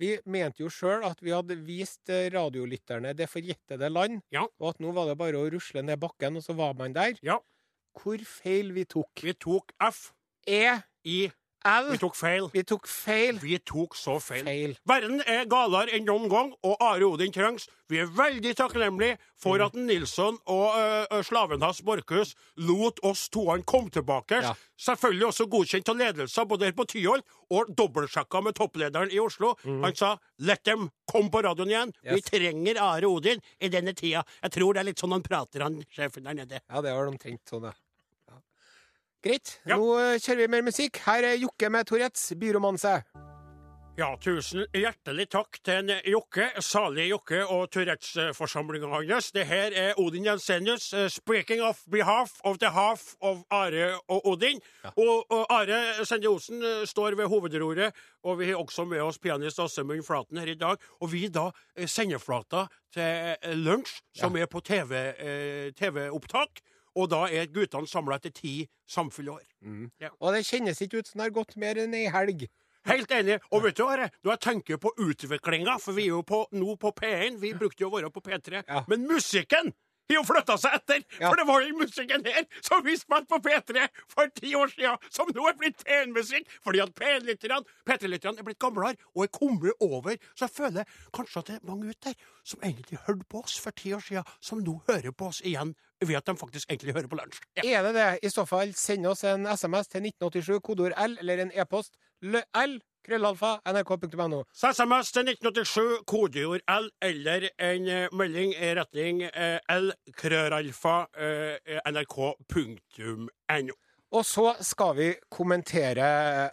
Speaker 1: Vi mente jo sjøl at vi hadde vist eh, radiolytterne det forjettede land,
Speaker 2: Ja.
Speaker 1: og at nå var det bare å rusle ned bakken, og så var man der.
Speaker 2: Ja.
Speaker 1: Hvor feil vi tok.
Speaker 2: Vi tok F
Speaker 1: E,
Speaker 2: i
Speaker 1: L
Speaker 2: Vi tok feil.
Speaker 1: Vi tok feil.
Speaker 2: Vi tok så feil.
Speaker 1: Feil.
Speaker 2: Verden er galere enn noen gang, og Are Odin trengs. Vi er veldig takknemlige for
Speaker 1: Mm.
Speaker 2: at Nilsson og ø, ø, slaven hans Borchhus lot oss toene komme tilbake.
Speaker 1: Ja.
Speaker 2: Selvfølgelig også godkjent av ledelsen både her på Tyholt og dobbeltsjekka med topplederen i Oslo. Han sa 'let dem komme på radioen igjen'. Vi
Speaker 1: Mm. Yes.
Speaker 2: trenger Are Odin i denne tida. Jeg tror det er litt sånn han prater, han sjefen der nede.
Speaker 1: Ja, det var omtrent sånn, ja. Ja. Greit.
Speaker 2: Ja.
Speaker 1: Nå eh, kjører vi mer musikk. Her er Jokke med Tourettes byromanse.
Speaker 2: Ja, tusen hjertelig takk til en Jokke, salig Jokke og Tourettes-forsamlinga hans. Det her er Odin Jensenius, eh, speaking of behalf of the half of Are og Odin. Og, og Are Sende Osen eh, står ved hovedroret, og vi har også med oss pianist Åsemund Flaten her i dag. Og vi da eh, sender flata til eh, lunsj, som er på TV-opptak. Eh, TV og da er guttene samla etter ti samfulle år.
Speaker 1: Og det kjennes ikke ut som det har gått mer enn ei helg.
Speaker 2: Helt enig. Og vet du hva, Are? når jeg tenker på utviklinga, for vi er jo på, nå på P1, vi brukte jo å være på P3,
Speaker 1: Ja.
Speaker 2: men musikken har jo flytta seg etter!
Speaker 1: Ja.
Speaker 2: For det var jo musikken her som vi spilte på P3 for ti år siden, som nå er blitt P1-musikk! Fordi at P1-lytterne P3-lytterne er blitt gamlere og er kommet over. Så jeg føler kanskje at det er mange ute der som egentlig hørte på oss for ti år siden, som nå hører på oss igjen ved at de faktisk egentlig hører på lunsj. Ja.
Speaker 1: Er det det? I så fall, send oss en SMS til 1987, kodeord L, eller en e-post lø- L, krøllalfa, nrk.no.
Speaker 2: Så SMS til 1987, kodeord L, eller en eh, melding i retning eh, L, krøralfa, eh, eh, nrk.no.
Speaker 1: Og så skal vi kommentere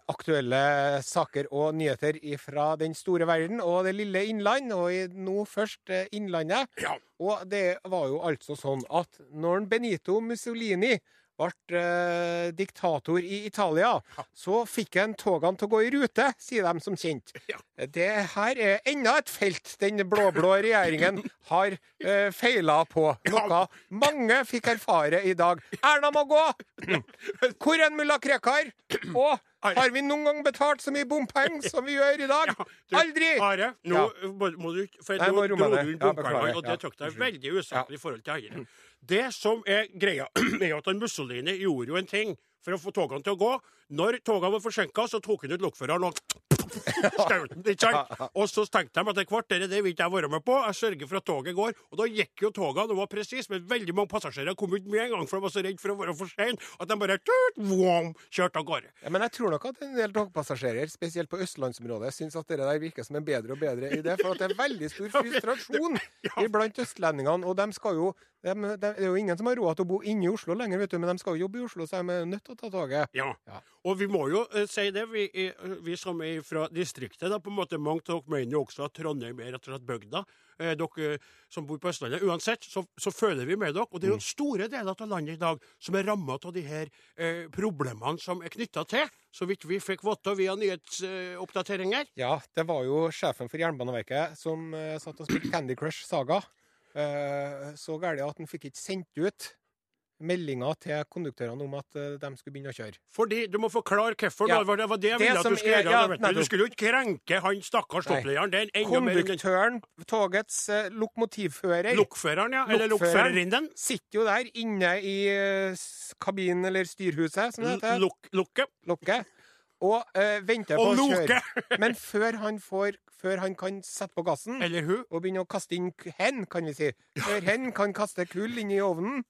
Speaker 1: aktuelle saker og nyheter fra den store verden og det lille innland, og i- nå først eh, Innlandet.
Speaker 2: Ja.
Speaker 1: Og det var jo altså sånn at når Benito Mussolini ble eh, diktator i Italia, så fikk han togene til å gå i rute, sier de som kjent.
Speaker 2: Ja.
Speaker 1: Det her er enda et felt den blå-blå regjeringen har eh, feila på. Noe mange fikk erfare i dag. Erna må gå! Hvor enn mulla Krekar? Og har vi noen gang betalt så mye bompenger som vi gjør i dag?
Speaker 2: Du,
Speaker 1: Aldri!
Speaker 2: Are, nå
Speaker 1: Ja.
Speaker 2: må, må du ikke For
Speaker 1: Nei, jeg
Speaker 2: nå
Speaker 1: må roe
Speaker 2: dro
Speaker 1: meg
Speaker 2: du
Speaker 1: ned.
Speaker 2: inn
Speaker 1: Ja,
Speaker 2: bompengene,
Speaker 1: beklager.
Speaker 2: og det
Speaker 1: Ja,
Speaker 2: tok deg veldig usaklig i forhold til Høyre. Det som er greia, er at han Mussolini gjorde jo en ting for å få togene til å gå. Når togene var forsinka, så tok han ut lokføreren og skjøt den, ikke sant? Og så tenkte de at et kvarter det vil ikke jeg være med på, jeg sørger for at toget går. Og da gikk jo togene, det var presis, men veldig mange passasjerer kom ut med en gang, for de var så redd for å være for sein at de bare tut, vom, kjørte av gårde.
Speaker 1: Ja, men jeg tror nok at en del togpassasjerer, spesielt på østlandsområdet, syns at det der virker som en bedre og bedre idé. For at det er veldig stor frustrasjon blant østlendingene. Og de skal jo de, de, Det er jo ingen som har råd til å bo inne i Oslo lenger, vet du, men de skal jo jobbe i Oslo, så de er nødt til å ta toget.
Speaker 2: Ja.
Speaker 1: Ja.
Speaker 2: Og vi må jo eh, si det, vi, eh, vi som er fra distriktet, da, på en måte, mange av dere mener jo også at Trondheim er rett og slett bygda. Eh, dere som bor på Østlandet. Uansett, så, så føler vi med dere. Og det
Speaker 1: Mm.
Speaker 2: er jo store deler av landet i dag som er ramma av de her eh, problemene som er knytta til, så vidt vi fikk vite via nyhetsoppdateringer.
Speaker 1: Ja, det var jo sjefen for Jernbaneverket som eh, satt og spilte Candy Crush Saga. Eh, så gærent at han fikk ikke sendt ut meldinger til konduktørene om at eh, de skulle begynne å kjøre.
Speaker 2: Fordi du må forklare hvorfor.
Speaker 1: Ja.
Speaker 2: da, Det var det jeg
Speaker 1: Det
Speaker 2: ville at
Speaker 1: som
Speaker 2: du skulle
Speaker 1: er-
Speaker 2: gjøre.
Speaker 1: ja,
Speaker 2: da, vet du.
Speaker 1: nettopp.
Speaker 2: du skulle jo ikke krenke han stakkars
Speaker 1: Nei.
Speaker 2: topplederen. Det er enda mer enn den
Speaker 1: Konduktøren, togets eh, lokomotivfører
Speaker 2: lokføreren, ja. Eller
Speaker 1: Lokføreren.
Speaker 2: lokførerinnen.
Speaker 1: sitter jo der inne i eh, s- kabinen eller styrhuset, som det heter,
Speaker 2: Lok, lokke.
Speaker 1: lokket, og eh, venter på
Speaker 2: Og
Speaker 1: å
Speaker 2: loke!
Speaker 1: kjøre. Men før han, får, før han kan sette på gassen
Speaker 2: Eller hun.
Speaker 1: og begynne å kaste inn k- hen, kan vi si, før hen kan kaste kull inn i ovnen,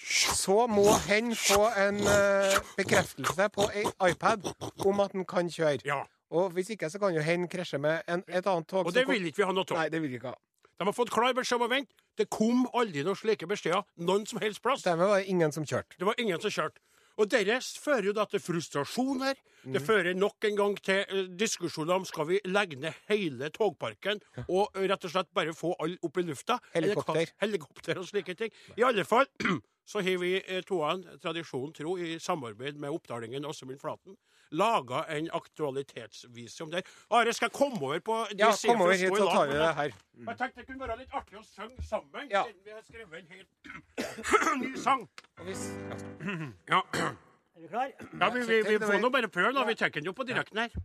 Speaker 1: så må hen få en eh, bekreftelse på ei iPad om at den kan kjøre.
Speaker 2: Ja.
Speaker 1: Og hvis ikke, så kan jo hen krasje med en, et annet tog.
Speaker 2: Og det vil ikke vi ha noe av.
Speaker 1: Nei, det vil vi ikke ha.
Speaker 2: De har fått klar beskjed om å vente. Det kom aldri noen slike beskjeder noen som helst plass.
Speaker 1: Dermed var det ingen som kjørte.
Speaker 2: Det var ingen som kjørte. Og dette fører jo da til frustrasjoner.
Speaker 1: Mm.
Speaker 2: Det fører nok en gang til eh, diskusjoner om skal vi legge ned hele togparken og eh, rett og slett bare få alle opp i lufta. Eller hva-
Speaker 1: Helikopter.
Speaker 2: helikopter og slike ting. I alle fall så har vi eh, toan, tradisjonen tro, i samarbeid med oppdalingen Åsemund Flaten, laga en aktualitetsvise om det. Are, skal jeg komme over på de
Speaker 1: Ja,
Speaker 2: sidene
Speaker 1: kom
Speaker 2: for å
Speaker 1: over hit,
Speaker 2: stå i
Speaker 1: så
Speaker 2: lag
Speaker 1: tar
Speaker 2: med
Speaker 1: vi
Speaker 2: deg?
Speaker 1: det her.
Speaker 2: Jeg tenkte det kunne være litt artig å synge sammen,
Speaker 1: Ja.
Speaker 2: siden vi har skrevet en helt ny sang.
Speaker 1: Og hvis- ja.
Speaker 2: Ja,
Speaker 5: Er du klar?
Speaker 2: ja vi, vi, vi får nå bare prøve, da. Vi tar den jo på direkten her.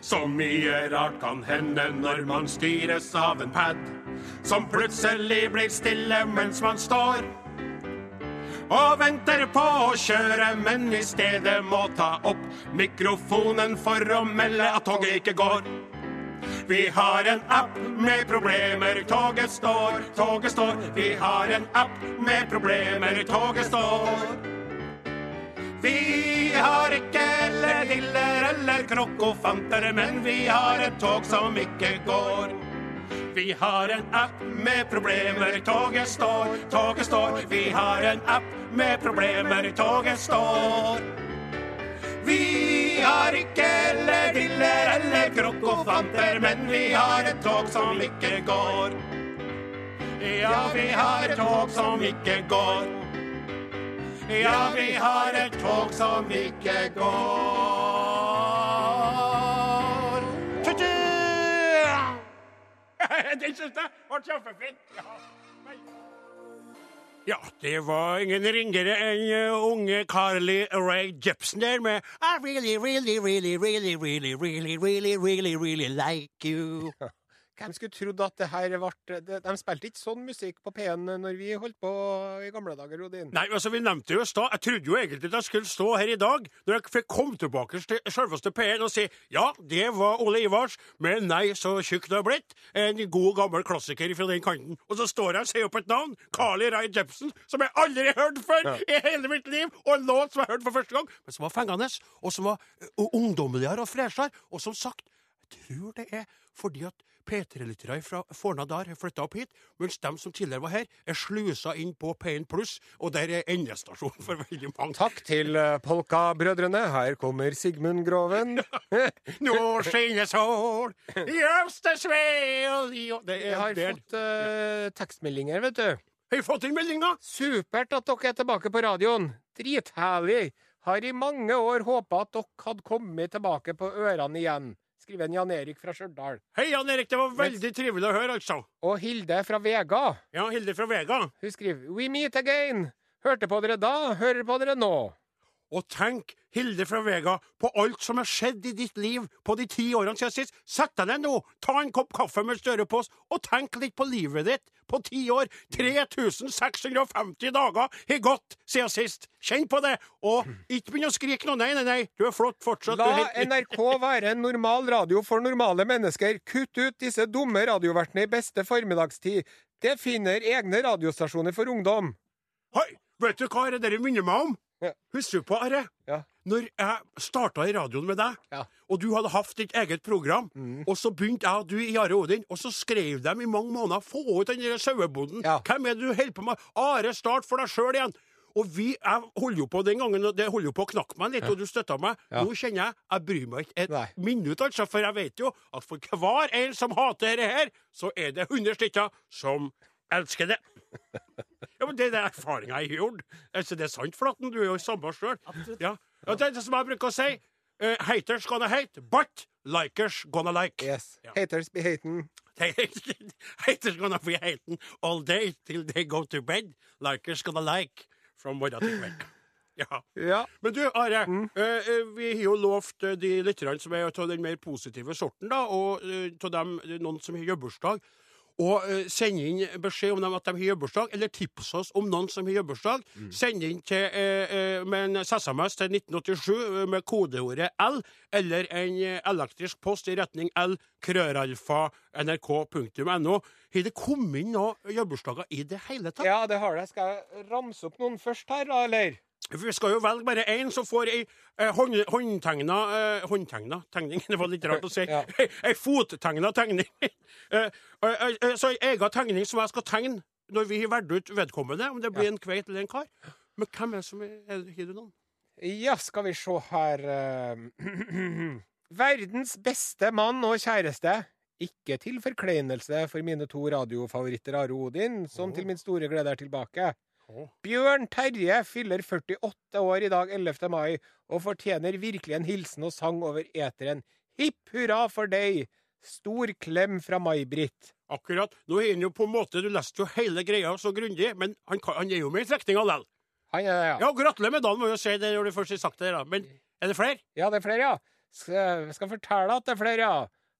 Speaker 2: Så mye rart kan hende når man styres av en pad, som plutselig blir stille mens man står. Og venter på å kjøre, men i stedet må ta opp mikrofonen for å melde at toget ikke går. Vi har en app med problemer, toget står, toget står. Vi har en app med problemer, toget står. Vi har ikke lediller eller krokofanter, men vi har et tog som ikke går. Vi har en app med problemer, toget står, toget står. Vi har en app med problemer, toget står. Vi har ikke lediller eller krokofanter, men vi har et tog som ikke går. Ja, vi har et tog som ikke går. Ja, vi har et tog som ikke går. Tutu! Den syns jeg var kjempefin. Ja, det var ingen ringere enn eh, unge Carly Rae Jepsen der med I really, really, really, really, really, really, really, really, really like you.
Speaker 1: Hvem skulle trodd at det her ble de, de spilte ikke sånn musikk på P1 når vi holdt på i gamle dager, Odin.
Speaker 2: Nei, altså, vi nevnte jo i stad Jeg trodde jo egentlig at jeg skulle stå her i dag, når jeg fikk komme tilbake til selveste P1 og si ja, det var Ole Ivars, men nei, så tjukk du har blitt. En god, gammel klassiker fra den kanten. Og så står jeg og sier opp et navn, Carly Rae Jepsen, som jeg aldri har hørt før i hele mitt liv, og en låt som jeg hørte for første gang, men som var fengende, og som var eh, ungdommeligere og freshere, og som sagt jeg tror det er fordi at P3-lyttere fra Forna der har flytta opp hit, mens dem som tidligere var her, er slusa inn på P1 pluss, og der er endestasjonen for veldig mange.
Speaker 1: Takk til eh, Polka-brødrene. Her kommer Sigmund Groven.
Speaker 2: Nå skinner sol i Østersveil i å- Det
Speaker 1: Jeg
Speaker 2: er
Speaker 1: har
Speaker 2: der.
Speaker 1: fått eh, tekstmeldinger, vet du.
Speaker 2: Har vi fått inn meldinga?
Speaker 1: Supert at dere er tilbake på radioen. Dritherlig. Har i mange år håpa at dere hadde kommet tilbake på ørene igjen. Skriver en Jan Erik fra Stjørdal.
Speaker 2: Hei, Jan Erik, det var veldig trivelig å høre, altså.
Speaker 1: Og Hilde fra Vega.
Speaker 2: Ja, Hilde fra Vega.
Speaker 1: Hun skriver We meet again. Hørte på dere da, hører på dere nå.
Speaker 2: Og tenk, Hilde fra Vega, på alt som har skjedd i ditt liv på de ti årene siden sist. Sett deg ned nå, ta en kopp kaffe med Støre på oss, og tenk litt på livet ditt på ti år. 3650 dager har gått siden sist. Kjenn på det. Og ikke begynn å skrike nå. Nei, nei, nei. Du er flott fortsatt. Du er
Speaker 1: La
Speaker 2: helt-
Speaker 1: NRK være en normal radio for normale mennesker. Kutt ut disse dumme radiovertene i beste formiddagstid. Det finner egne radiostasjoner for ungdom.
Speaker 2: Hei, vet du hva det der minner meg om?
Speaker 1: Ja.
Speaker 2: Husker du på, Are?
Speaker 1: Ja.
Speaker 2: Når jeg starta i radioen med deg,
Speaker 1: Ja. Mm.
Speaker 2: og du hadde hatt ditt eget program, og så begynte jeg og du i Are Odin, og så skrev de i mange måneder 'Få ut den der sauebonden'.
Speaker 1: Ja.
Speaker 2: Hvem er det du holder på med? Are, start for deg sjøl igjen. Og vi, jeg holder jo på den gangen, og det holder jo på å knakke meg litt, og du støtta meg. Nå kjenner jeg jeg bryr meg ikke et
Speaker 1: Nei.
Speaker 2: minutt, altså, for jeg vet jo at for hver en som hater dette her, så er det 100 stykker som elsker det. Ja, men Det er erfaringa jeg har gjort. Altså, det er sant, Flatten. Du er jo samme sjøl. Ja. Ja, det er det som jeg bruker å si. eh, haters gonna hate, but likers gonna like.
Speaker 1: Yes.
Speaker 2: Ja.
Speaker 1: Haters be haten.
Speaker 2: haters gonna be hating all day till they go to bed. Likers gonna like from morgen til kveld. Ja.
Speaker 1: Ja.
Speaker 2: Men du, Are. eh, eh, vi har jo lovt eh, de lytterne som er av den mer positive sorten, da, og av dem eh, noen som har jobbursdag, å eh, sende inn beskjed om dem at de har jobbursdag, eller tips oss om noen som har jobbursdag. Send inn til, eh, eh, med en SMS til 1987 med kodeordet L, eller en eh, elektrisk post i retning L, krøralfa, nrk.no. Har det kommet inn noen jobbursdager i det hele tatt?
Speaker 1: ja, det har det. Skal jeg ramse opp noen først her, da, eller?
Speaker 2: Vi skal jo velge bare én som får ei eh, hånd, håndtegna eh, Håndtegna tegning, det var litt rart å si.
Speaker 1: Ja.
Speaker 2: Ei fottegna tegning. eh, eh, eh, så ei egen tegning som jeg skal tegne når vi har valgt ut vedkommende, om det blir en kveit eller en kar. Men hvem er det som er, er det- Har du noen?
Speaker 1: Ja, skal vi se her eh, Verdens beste mann og kjæreste. Ikke til forkleinelse for mine to radiofavoritter Are og Odin, som til min store glede er tilbake.
Speaker 2: Å.
Speaker 1: Bjørn Terje fyller 48 år i dag, 11. mai, og fortjener virkelig en hilsen og sang over eteren. Hipp hurra for deg! Stor klem fra May-Britt.
Speaker 2: Akkurat. Nå er han jo på en måte Du leste jo hele greia så grundig, men han, kan, han er jo med i trekninga likevel.
Speaker 1: Han er ja.
Speaker 2: Ja, gratulerer med dagen, må jeg jo si det når du først har sagt det. da. Men er det flere?
Speaker 1: ja, det er flere, ja. Skal, skal fortelle at det er flere, ja.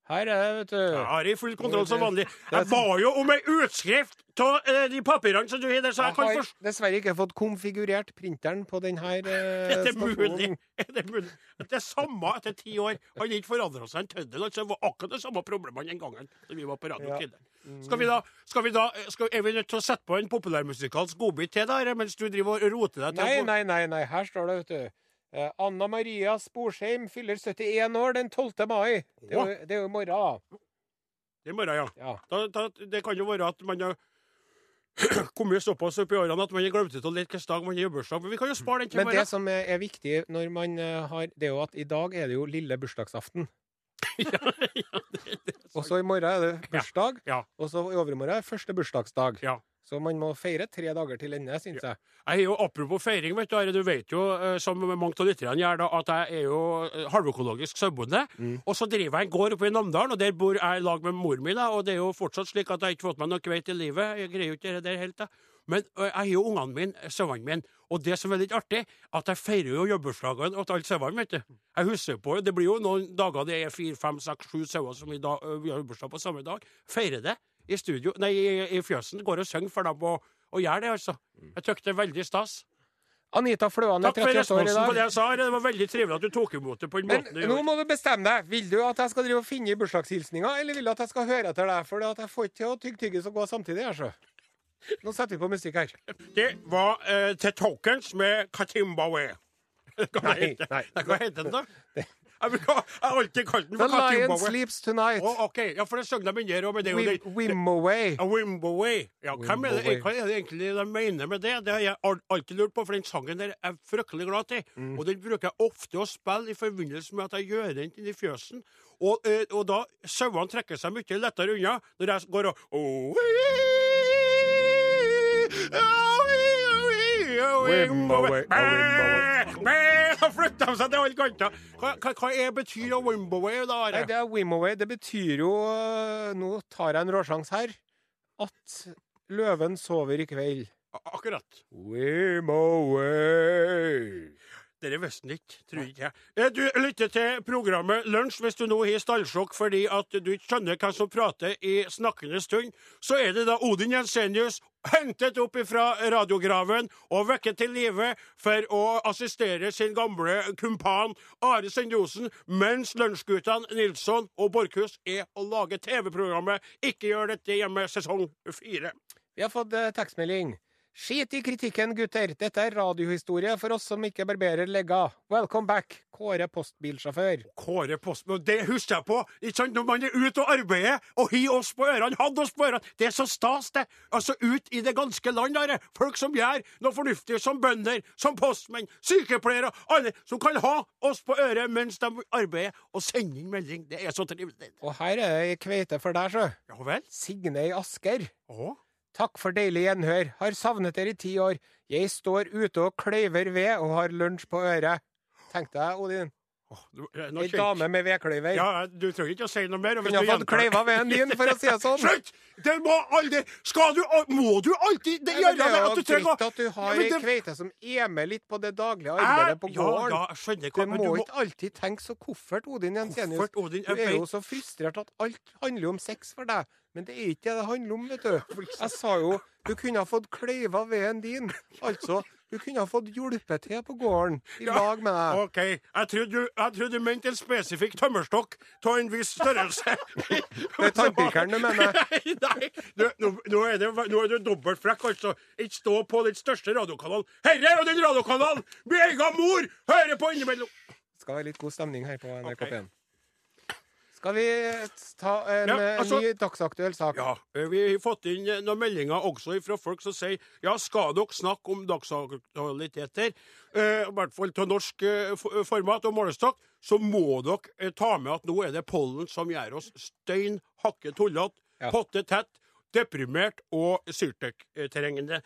Speaker 1: Her er det, vet du.
Speaker 2: Jeg har i full kontroll som vanlig.
Speaker 1: er sånn-
Speaker 2: Jeg ba jo om ei utskrift av eh, de papirene som du har der, så jeg kan
Speaker 1: har
Speaker 2: forstå
Speaker 1: dessverre ikke fått konfigurert printeren på den her eh,
Speaker 2: Er det mulig?
Speaker 1: stasjonen.
Speaker 2: Er det mulig? At det er samme etter ti år. Han har ikke forandra seg en tøddel. Altså, det var akkurat det samme problemet den gangen da vi var på radio tidligere. Skal vi da, skal vi da eh, skal, Er vi nødt til å sette på en populærmusikalsk godbit til der, mens du driver og roter deg
Speaker 1: Nei,
Speaker 2: til
Speaker 1: nei, nei, nei. Her står det, vet du. Eh, Anna Maria Sporsheim fyller 71 år den 12. mai. Det er jo- det er jo i morgen.
Speaker 2: Det er morgen, ja.
Speaker 1: Ja.
Speaker 2: Da, da, det kan jo være at man har kommet såpass opp i årene at man har glemt ut å lete hvilken dag man har jobbursdag. Men vi kan jo spare den til
Speaker 1: Men det
Speaker 2: morgen.
Speaker 1: som er, er viktig når man eh, har Det er jo at i dag er det jo lille bursdagsaften. Og så i morgen er det bursdag,
Speaker 2: Ja.
Speaker 1: og så i overmorgen er det første bursdagsdag.
Speaker 2: Ja.
Speaker 1: Så man må feire tre dager til ende, syns jeg.
Speaker 2: Jeg er jo, Apropos feiring, vet du, Are, du vet jo eh, som mange av lytterne gjør, da, at jeg er jo eh, halvøkologisk sauebonde. Og så driver jeg en gård oppe i Namdalen, og der bor jeg i lag med mor mi. da, Og det er jo fortsatt slik at jeg har ikke fått meg noe kveit i livet. Jeg greier jo ikke det der helt, da. Men eh, jeg har jo ungene mine, sauene mine. Og det som er litt artig, at jeg feirer jo jobbursdagene til alle sauene, vet du. Jeg husker på Det blir jo noen dager det er fire, fem, seks, sju sauer som i dag, eh, har bursdag på samme dag. Feirer det i studio, nei, i, i fjøsen. Går og synger for dem og, og gjør det, altså. Jeg tykker det er veldig stas.
Speaker 1: Anita Fløan Mm. er
Speaker 2: Takk for
Speaker 1: 38 år i
Speaker 2: responsen på
Speaker 1: dag.
Speaker 2: det jeg sa. Are. Det var veldig trivelig at du tok imot det på den
Speaker 1: Men
Speaker 2: måten
Speaker 1: nå
Speaker 2: du gjorde.
Speaker 1: må du bestemme deg. Vil du at jeg skal drive og finne i bursdagshilsninga, eller vil du at jeg skal høre etter deg? For at jeg får ikke til å tygge tyggis og gå samtidig. her, så. Nå setter vi på musikk her.
Speaker 2: Det var eh, The Tokens med Katimbawe. Hva
Speaker 1: Nei,
Speaker 2: heter
Speaker 1: nei.
Speaker 2: Hva heter den, da? Jeg vil ha- jeg har alltid kalt den
Speaker 1: The
Speaker 2: for
Speaker 1: lion
Speaker 2: Katimbaway.
Speaker 1: sleeps tonight.
Speaker 2: Å, OK. Ja, for det søgner begynner her òg, men det er jo
Speaker 1: Wim-
Speaker 2: den
Speaker 1: Wimbaway.
Speaker 2: A Wimbaway. Ja, hvem er det,
Speaker 1: Wimbaway.
Speaker 2: hva er det egentlig de mener med det? Det har jeg al- alltid lurt på, for den sangen der er jeg fryktelig glad til. Og den bruker jeg ofte å spille i forbindelse med at jeg gjør rent inni fjøsen. Og, eh, og da sauene trekker seg mye lettere unna når jeg går og
Speaker 1: Wimbaway, a Wimbaway.
Speaker 2: Bæ! Da flytter de seg til alle kanter. Hva, hva, hva er betyr av Wimbaway, da? Are?
Speaker 1: Nei, det er Wimbaway. Det betyr jo øh, Nå tar jeg en råsjans her. At løven sover i kveld.
Speaker 2: Ak- Akkurat.
Speaker 1: Wimbaway.
Speaker 2: Dere visste den ikke, tror ikke jeg. Eh, Du lytter til programmet Lunsj. Hvis du nå har stallsjokk fordi at du ikke skjønner hvem som prater i snakkende stund, så er det da Odin Jensenius hentet opp fra radiograven og vekket til live for å assistere sin gamle kumpan Are Sendiosen, mens lunsjguttene Nilsson og Borchhus er å lage TV-programmet Ikke gjør dette hjemme sesong fire.
Speaker 1: Vi har fått eh, tekstmelding. Skit i kritikken, gutter. Dette er radiohistorie for oss som ikke barberer legga. Welcome back, Kåre postbilsjåfør.
Speaker 2: Kåre Postmo, det husker jeg på. Ikke sant? Når man er ute og arbeider, og har oss på ørene, hadde oss på ørene. Det er så stas, det. Altså ut i det ganske land, Are. Folk som gjør noe fornuftig, som bønder, som postmenn, sykepleiere, alle som kan ha oss på øret mens de arbeider, og sende inn melding. Det er så trivelig.
Speaker 1: Og her er ei kveite for deg, sjø.
Speaker 2: Ja vel?
Speaker 1: Signe i Asker.
Speaker 2: Å?
Speaker 1: Takk for deilig gjenhør. Har savnet dere i ti år. Jeg står ute og kløyver ved og har lunsj på øret. Tenk deg, Odin.
Speaker 2: Å, du- eh, nå
Speaker 1: Ei
Speaker 2: kjente-
Speaker 1: dame med vedkløyver.
Speaker 2: Ja, du trenger ikke å si noe mer. og hvis
Speaker 1: Kunne
Speaker 2: du
Speaker 1: ha fått
Speaker 2: gjentar-
Speaker 1: kleiva veden din, for å si det sånn.
Speaker 2: Slutt! Det må aldri Skal du al- Må du alltid det
Speaker 1: Nei, men
Speaker 2: gjøre det? At du
Speaker 1: Det er jo
Speaker 2: trenger å-
Speaker 1: greit at du
Speaker 2: Ja,
Speaker 1: har
Speaker 2: men
Speaker 1: ei
Speaker 2: det-
Speaker 1: kveite som er med litt på det daglige arbeidet på
Speaker 2: Ja,
Speaker 1: gården.
Speaker 2: Ja, jeg skjønner
Speaker 1: Du
Speaker 2: hva, men
Speaker 1: må
Speaker 2: du må
Speaker 1: ikke alltid tenke så koffert, Odin Jensenius.
Speaker 2: Koffert, Odin,
Speaker 1: du
Speaker 2: jeg
Speaker 1: er jo
Speaker 2: vet.
Speaker 1: så frustrert at alt handler jo om sex for deg. Men det er ikke det det handler om, vet du. Jeg sa jo du kunne ha fått kleiva veden din. Altså, du kunne ha fått hjulpet til på gården i
Speaker 2: Ja,
Speaker 1: lag med deg.
Speaker 2: OK. Jeg trodde, du, jeg trodde du mente en spesifikk tømmerstokk av en viss størrelse. det
Speaker 1: er tannpirkeren du mener.
Speaker 2: Nei, nei. Du, nå, nå, er det, nå er du dobbelt frekk, altså. Ikke stå på den største radiokanalen. Herre er jo den radiokanalen min egen mor hører på innimellom!
Speaker 1: Det skal være litt god stemning her på NRK
Speaker 2: Ok.
Speaker 1: P1. Skal vi ta en
Speaker 2: Ja,
Speaker 1: eh,
Speaker 2: altså-
Speaker 1: ny dagsaktuell sak?
Speaker 2: Ja, eh, vi har fått inn eh, noen meldinger også fra folk som sier ja, skal dere snakke om dagsaktualiteter, eh, i hvert fall til norsk eh, f- format og målestokk, så må dere eh, ta med at nå er det pollen som gjør oss stein hakke tullete,
Speaker 1: Ja.
Speaker 2: potte tett, deprimert og syrtek-terrengende.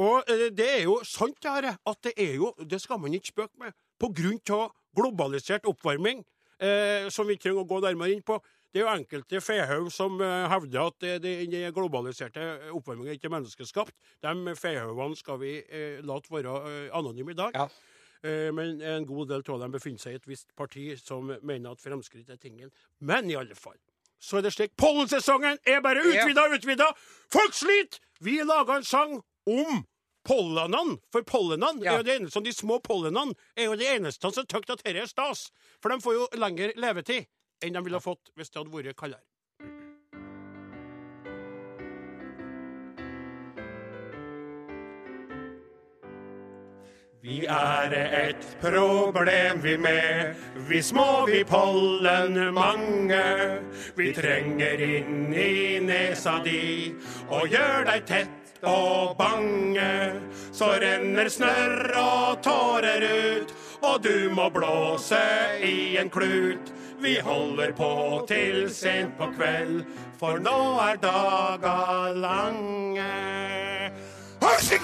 Speaker 2: Og eh, det er jo sant, det her, at det er jo Det skal man ikke spøke med. På grunn av globalisert oppvarming, eh, som vi ikke trenger å gå nærmere inn på. Det er jo enkelte fehaug som eh, hevder at eh, det- den globaliserte oppvarmingen ikke er menneskeskapt. De fehaugene skal vi eh, la være eh, anonyme i dag.
Speaker 1: Ja.
Speaker 2: Eh, men en god del av dem befinner seg i et visst parti som mener at fremskritt er tingen. Men i alle fall så er det slik. Pollensesongen er bare utvida og utvida! Folk sliter! Vi laga en sang om pollenene, for pollenene
Speaker 1: Ja.
Speaker 2: er jo det eneste, de små pollenene er jo det eneste som tykker at dette er stas. For de får jo lengre levetid enn de ville ha fått hvis det hadde vært kaldere. Vi er et problem vi med, vi små vi pollen mange. Vi trenger inn i nesa di og gjør deg tett og bange. Så renner snørr og tårer ut, og du må blåse i en klut. Vi holder på til sent på kveld, for nå er daga lange. Hysj!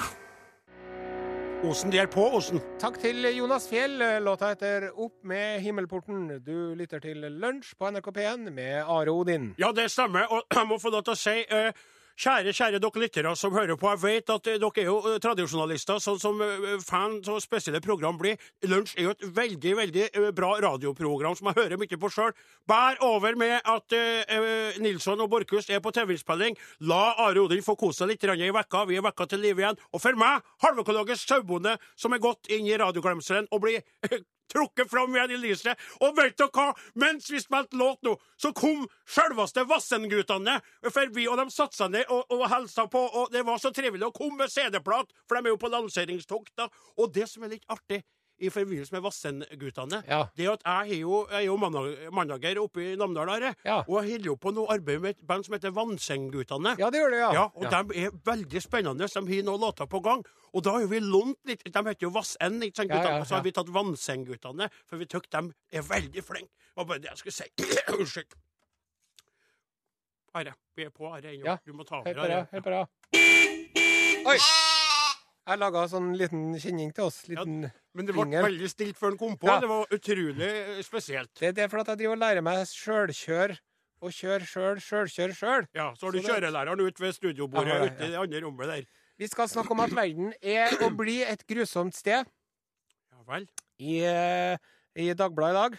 Speaker 2: Åsen, de er på, Åsen.
Speaker 1: Takk til Jonas Fjell. Eh, Låta heter Opp med himmelporten. Du lytter til Lunsj på NRK P1 med Are Odin.
Speaker 2: Ja, det stemmer. Og jeg må få lov til å si eh, Kjære kjære dere lyttere som hører på, jeg vet at eh, dere er jo eh, tradisjonalister, sånn som eh, fan av spesielle program blir. Lunsj er jo et veldig veldig eh, bra radioprogram som jeg hører mye på sjøl. Bær over med at eh, eh, Nilsson og Borchhus er på TV-innspilling. La Are Odin få kose seg litt grann i vekka. Vi er vekka til live igjen. Og for meg, halvøkologisk sauebonde som er gått inn i radioglemselen og blir eh, trukket fram igjen i lyset. Og vet dere hva? Mens vi spilte låt nå, så kom sjølveste Vassendgutane forbi, og de satte seg ned og, og hilsa på, og det var så trivelig å komme med CD-plat, for de er jo på lanseringstokt, da. Og det som er litt artig i forbindelse med Vassendgutane,
Speaker 1: Ja.
Speaker 2: det er at jeg er jo, jeg er jo mandag- mandager oppe i Namdal, Are,
Speaker 1: Ja.
Speaker 2: og jeg holder jo på noe arbeid med et band som heter Vansenggutane.
Speaker 1: Ja, det gjør det, ja.
Speaker 2: Ja, og de er veldig spennende. De har noen låter på gang. Og da har jo vi lånt litt De heter jo Vassend, ikke sant,
Speaker 1: Ja, ja,
Speaker 2: guttene? Og så
Speaker 1: ja.
Speaker 2: har vi tatt Vannseng-guttene, for vi tykker de er veldig flinke. Det var bare det jeg skulle si. Unnskyld. Are, vi er på Are ennå.
Speaker 1: Ja,
Speaker 2: Du må ta
Speaker 1: Hør
Speaker 2: over,
Speaker 1: på det.
Speaker 2: Are.
Speaker 1: Hør på det. Oi! Jeg laga sånn liten kjenning til oss. Liten
Speaker 2: Men det ble
Speaker 1: Ingen.
Speaker 2: veldig stilt før den kom på.
Speaker 1: Ja.
Speaker 2: Det var utrolig eh, spesielt.
Speaker 1: Det, det er fordi jeg driver og lærer meg sjølkjør. Og kjør sjøl, sjølkjør sjøl.
Speaker 2: Ja, Så har du
Speaker 1: Så det-
Speaker 2: kjørelæreren ute ved studiobordet
Speaker 1: Ja, ja,
Speaker 2: ute i det andre rommet der.
Speaker 1: Vi skal snakke om at verden er og blir et grusomt sted.
Speaker 2: Ja vel.
Speaker 1: I, eh, i Dagbladet i dag,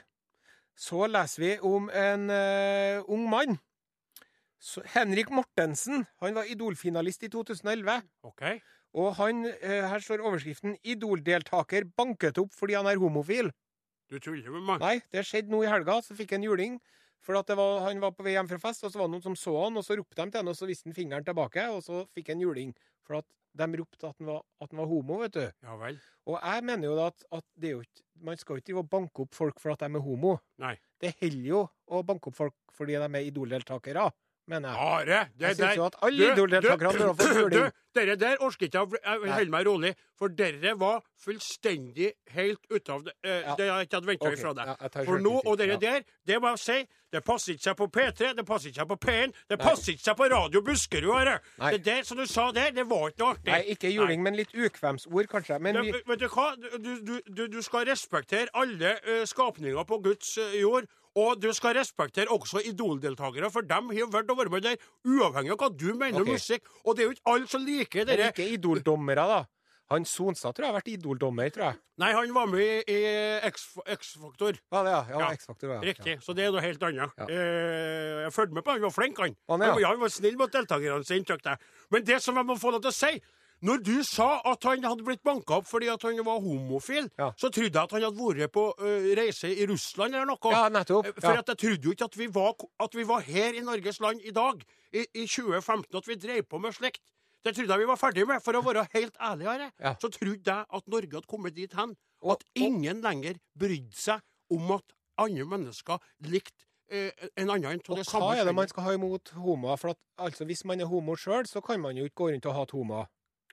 Speaker 1: så leser vi om en eh, ung mann. Så, Henrik Mortensen. Han var Idol-finalist i 2011.
Speaker 2: OK.
Speaker 1: Og han, eh, her står overskriften 'Idol-deltaker banket opp fordi han er homofil'.
Speaker 2: Du tuller med meg.
Speaker 1: Nei, det skjedde nå i helga, så fikk han juling. For at det var, han var på vei hjem fra fest, og så var det noen som så han, og så ropte de til han, og så viste han fingeren tilbake, og så fikk han juling. For at de ropte at han var, at han var homo, vet du.
Speaker 2: Ja vel.
Speaker 1: Og jeg mener jo da at, at det er jo ikke, man skal jo ikke drive og banke opp folk for at de er homo.
Speaker 2: Nei.
Speaker 1: Det holder jo å banke opp folk fordi de er Idol-deltakere, mener jeg.
Speaker 2: Are, det
Speaker 1: Jeg synes
Speaker 2: der
Speaker 1: jo at alle
Speaker 2: Du,
Speaker 1: Idol-deltakerne burde ha fått
Speaker 2: du,
Speaker 1: juling.
Speaker 2: Dere der orker ikke jeg- Jeg vil holde meg rolig, for dere var fullstendig helt ute av det, eh,
Speaker 1: Ja.
Speaker 2: det jeg ikke hadde venta
Speaker 1: Ok,
Speaker 2: ifra deg.
Speaker 1: ja, jeg tar
Speaker 2: for nå
Speaker 1: selvkritikk,
Speaker 2: og dere
Speaker 1: ja.
Speaker 2: der, det må jeg si, det passer ikke seg på P3, det passer ikke seg på P1, det passer ikke seg på Radio Buskerud, Are.
Speaker 1: Nei.
Speaker 2: Det der som du sa der, det var ikke noe artig.
Speaker 1: Nei, ikke juling, men litt ukvemsord, kanskje. Men
Speaker 2: Ja,
Speaker 1: vi,
Speaker 2: men- vet du hva? Du, du, du, du skal respektere alle eh, skapninger på Guds eh, jord. Og du skal respektere også Idol-deltakere, for dem har valgt å være med der, uavhengig av hva du mener om
Speaker 1: Ok.
Speaker 2: musikk. Og det er jo ikke alle som liker
Speaker 1: men
Speaker 2: dere.
Speaker 1: ikke Idol-dommere, da. Han Sonstad tror jeg har vært Idol-dommer, tror jeg.
Speaker 2: Nei, han var med i, i X- X-Faktor.
Speaker 1: Var det, ja? Ja,
Speaker 2: Ja,
Speaker 1: X-Faktor. Ja.
Speaker 2: Riktig. Så det er noe helt annet. Eh, jeg fulgte med på han, han var flink, han.
Speaker 1: Han, ja.
Speaker 2: var- han var snill mot deltakerne sine, tykte jeg. Men det som jeg må få lov til å si når du sa at han hadde blitt banka opp fordi at han var homofil,
Speaker 1: Ja.
Speaker 2: så trodde jeg at han hadde vært på eh, reise i Russland eller noe.
Speaker 1: Ja, nettopp.
Speaker 2: Eh, For
Speaker 1: Ja.
Speaker 2: at jeg trodde jo ikke at vi, var, at vi var her i Norges land i dag, i, i 2015, at vi drev på med slikt. Det trodde jeg vi var ferdig med. For å være helt ærlig, Are,
Speaker 1: Ja.
Speaker 2: så trodde jeg at Norge hadde kommet dit hen
Speaker 1: Og-
Speaker 2: at ingen lenger brydde seg om at andre mennesker likte eh, en annen enn
Speaker 1: Og
Speaker 2: av det
Speaker 1: hva
Speaker 2: samme
Speaker 1: er det man
Speaker 2: kjønnet.
Speaker 1: skal ha imot homoer? For at, altså, hvis man er homo sjøl, så kan man jo ikke gå rundt og hate homoer.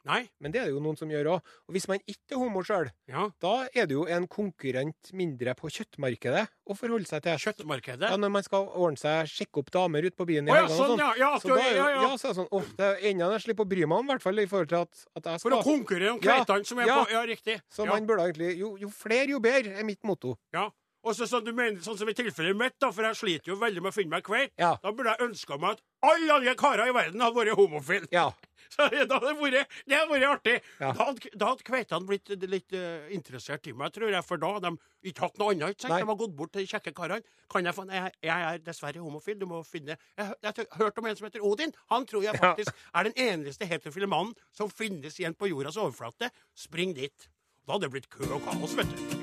Speaker 2: Nei,
Speaker 1: Men det er det jo noen som gjør òg. Og hvis man ikke er homo sjøl,
Speaker 2: ja.
Speaker 1: da er det jo en konkurrent mindre på kjøttmarkedet å forholde seg til.
Speaker 2: Kjøttmarkedet.
Speaker 1: Ja, når man skal ordne seg, sjekke opp damer ute på byen i
Speaker 2: Å ja,
Speaker 1: helgene
Speaker 2: sånn,
Speaker 1: og
Speaker 2: ja,
Speaker 1: sånn.
Speaker 2: ja, at
Speaker 1: så
Speaker 2: du-
Speaker 1: da er jo,
Speaker 2: ja, ja.
Speaker 1: så er det sånn, «Åh, det er enda jeg slipper å bry meg om, i hvert fall i forhold til at, at jeg
Speaker 2: For å
Speaker 1: skal.
Speaker 2: konkurrere om
Speaker 1: Ja,
Speaker 2: kveitene som er
Speaker 1: ja.
Speaker 2: på Ja, riktig.
Speaker 1: Så
Speaker 2: ja.
Speaker 1: man burde egentlig Jo, jo flere, jo bedre, er mitt motto.
Speaker 2: Ja. Og så sånn du mener, sånn som i tilfellet mitt, da, for jeg sliter jo veldig med å finne meg kveit,
Speaker 1: Ja.
Speaker 2: da burde jeg ønska meg at alle andre karer i verden hadde vært homofile.
Speaker 1: Ja.
Speaker 2: Så det hadde vært, det hadde vært artig.
Speaker 1: Ja.
Speaker 2: Da hadde, da hadde kveitene blitt eh, litt eh, interessert i meg, tror jeg, for da hadde de ikke hatt noe annet. Ikke sant?
Speaker 1: Nei.
Speaker 2: De hadde gått bort til de kjekke karene. Kan jeg få jeg, jeg er dessverre homofil, du må finne Jeg, jeg har hørt om en som heter Odin. Han tror jeg
Speaker 1: Ja.
Speaker 2: faktisk er den eneste heterofile mannen som finnes igjen på jordas overflate. Spring dit. Da hadde det blitt kø og kaos, vet du.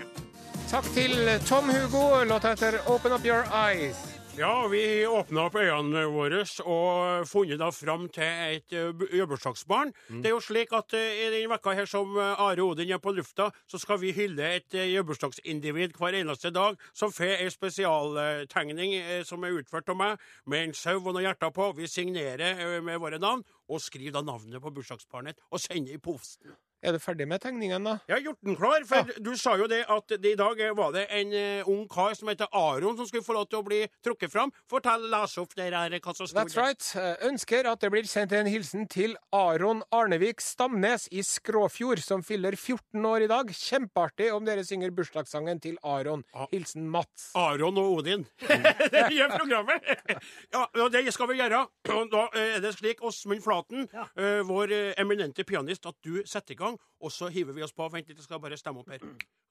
Speaker 1: Takk til Tom Hugo. Låta heter Open Up Your Eyes.
Speaker 2: Ja, vi åpna opp øynene våre og funnet da fram til et eh, bu- jubileumsbarn. Det er jo slik at eh, i denne vekka her som eh, Are Odin er på lufta, så skal vi hylle et eh, jubileumsindivid hver eneste dag som får ei spesialtegning eh, som er utført av meg, med en sau og noen hjerter på. Vi signerer eh, med våre navn, og skriver da navnet på bursdagsbarnet og sender i posten.
Speaker 1: Er du ferdig med tegningen, da?
Speaker 2: Jeg har gjort den klar, for du sa jo det at det, i dag eh, var det en eh, ung kar som heter Aron som skulle få lov til å bli trukket fram. Fortell, les opp der her hva som sto
Speaker 1: That's right. Eh, Ønsker at det blir sendt en hilsen til Aron Arnevik Stamnes i Skråfjord, som fyller 14 år i dag. Kjempeartig om dere synger bursdagssangen til Aron.
Speaker 2: Ah.
Speaker 1: Hilsen Mats.
Speaker 2: Aron og Odin. det nye programmet. ja, og det skal vi gjøre. Og da eh, er det slik, Åsmund Flaten, eh, vår eh, eminente pianist, at du setter i gang, og så hiver vi oss på. Vent litt, jeg skal bare stemme opp her.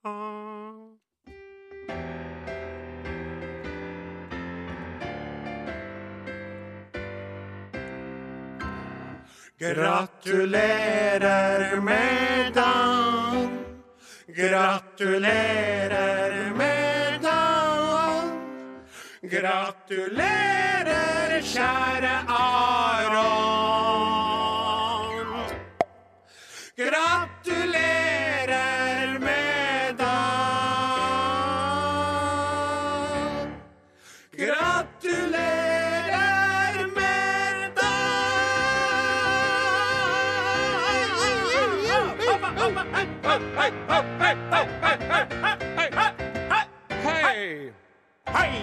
Speaker 2: Ah. Gratulerer med dagen. Gratulerer med dagen. Gratulerer, kjære Aron. Gratulerer med dagen.
Speaker 1: Hei!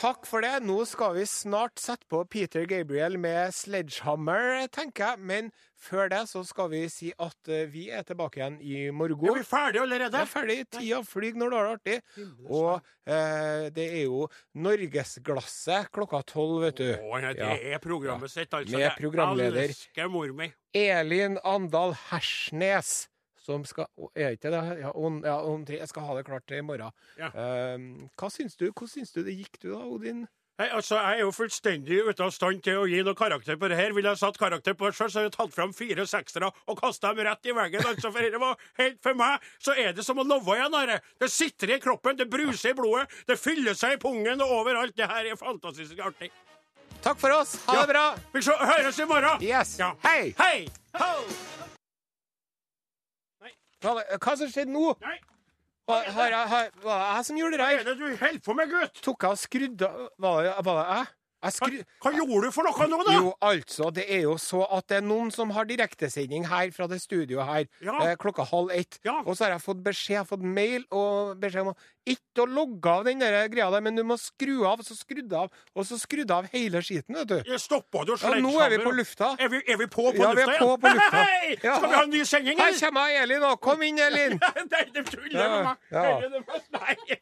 Speaker 1: Takk for det. Nå skal vi snart sette på Peter Gabriel med Sledgehammer, tenker jeg. Men før det så skal vi si at eh, vi er tilbake igjen i morgen.
Speaker 2: Er vi ferdige allerede?
Speaker 1: Det er ferdig. Tida flyr når du har det artig. Og eh, det er jo Norgesglasset klokka tolv, vet du.
Speaker 2: Å, nei, det
Speaker 1: Ja.
Speaker 2: er programmet sitt, altså.
Speaker 1: Med programleder.
Speaker 2: Jeg elsker mor mi.
Speaker 1: Elin Andal Hersnes. Som skal å, Er ikke det? Ja, om, ja, om tre. Jeg skal ha det klart til i morgen.
Speaker 2: Ja.
Speaker 1: Eh, hva syns du? Hvordan syns du det gikk du, da, Odin?
Speaker 2: Nei, altså, Jeg er jo fullstendig ute av stand til å gi noe karakter på det her. Ville jeg satt karakter på det sjøl, så hadde jeg tatt fram fire seksere og kasta dem rett i veggen. altså, For det var helt for meg så er det som å love igjen. Are. Det sitrer i kroppen, det bruser i blodet, det fyller seg i pungen og overalt. Det her er fantastisk artig.
Speaker 1: Takk for oss! Ha det bra!
Speaker 2: Vi sjå- høres i morgen!
Speaker 1: Yes.
Speaker 2: Ja.
Speaker 1: Hei!
Speaker 2: Hei! Ho!
Speaker 1: Hva, hva som skjedde nå?
Speaker 2: Nei,
Speaker 1: Var, har jeg, har, var det jeg som gjorde det
Speaker 2: hva er
Speaker 1: her?
Speaker 2: det du holder på med, gutt?
Speaker 1: Tok jeg og skrudde av- Var det, var det jeg? Jeg
Speaker 2: Hva,
Speaker 1: skru...
Speaker 2: hva gjorde du for noe nå, da?
Speaker 1: Jo, altså, det er jo så at det er noen som har direktesending her fra det studioet her
Speaker 2: Ja.
Speaker 1: eh, klokka halv ett.
Speaker 2: Ja.
Speaker 1: Og så har jeg fått beskjed, jeg har fått mail og beskjed om å ikke å logge av den der greia der, men du må skru av, så skrudde jeg av, og så skrudde jeg av hele skiten, vet du.
Speaker 2: Jeg stoppa du og
Speaker 1: Ja, nå er vi på lufta.
Speaker 2: Er vi, er vi på på
Speaker 1: Ja, vi
Speaker 2: lufta
Speaker 1: er på på lufta.
Speaker 2: Hei!
Speaker 1: Ja.
Speaker 2: Skal vi ha en ny sending,
Speaker 1: Her kommer Elin nå! Kom inn, Elin!
Speaker 2: Nei, det tuller med meg.
Speaker 1: Ja, ja.
Speaker 2: Tuller du med meg? Nei, ja.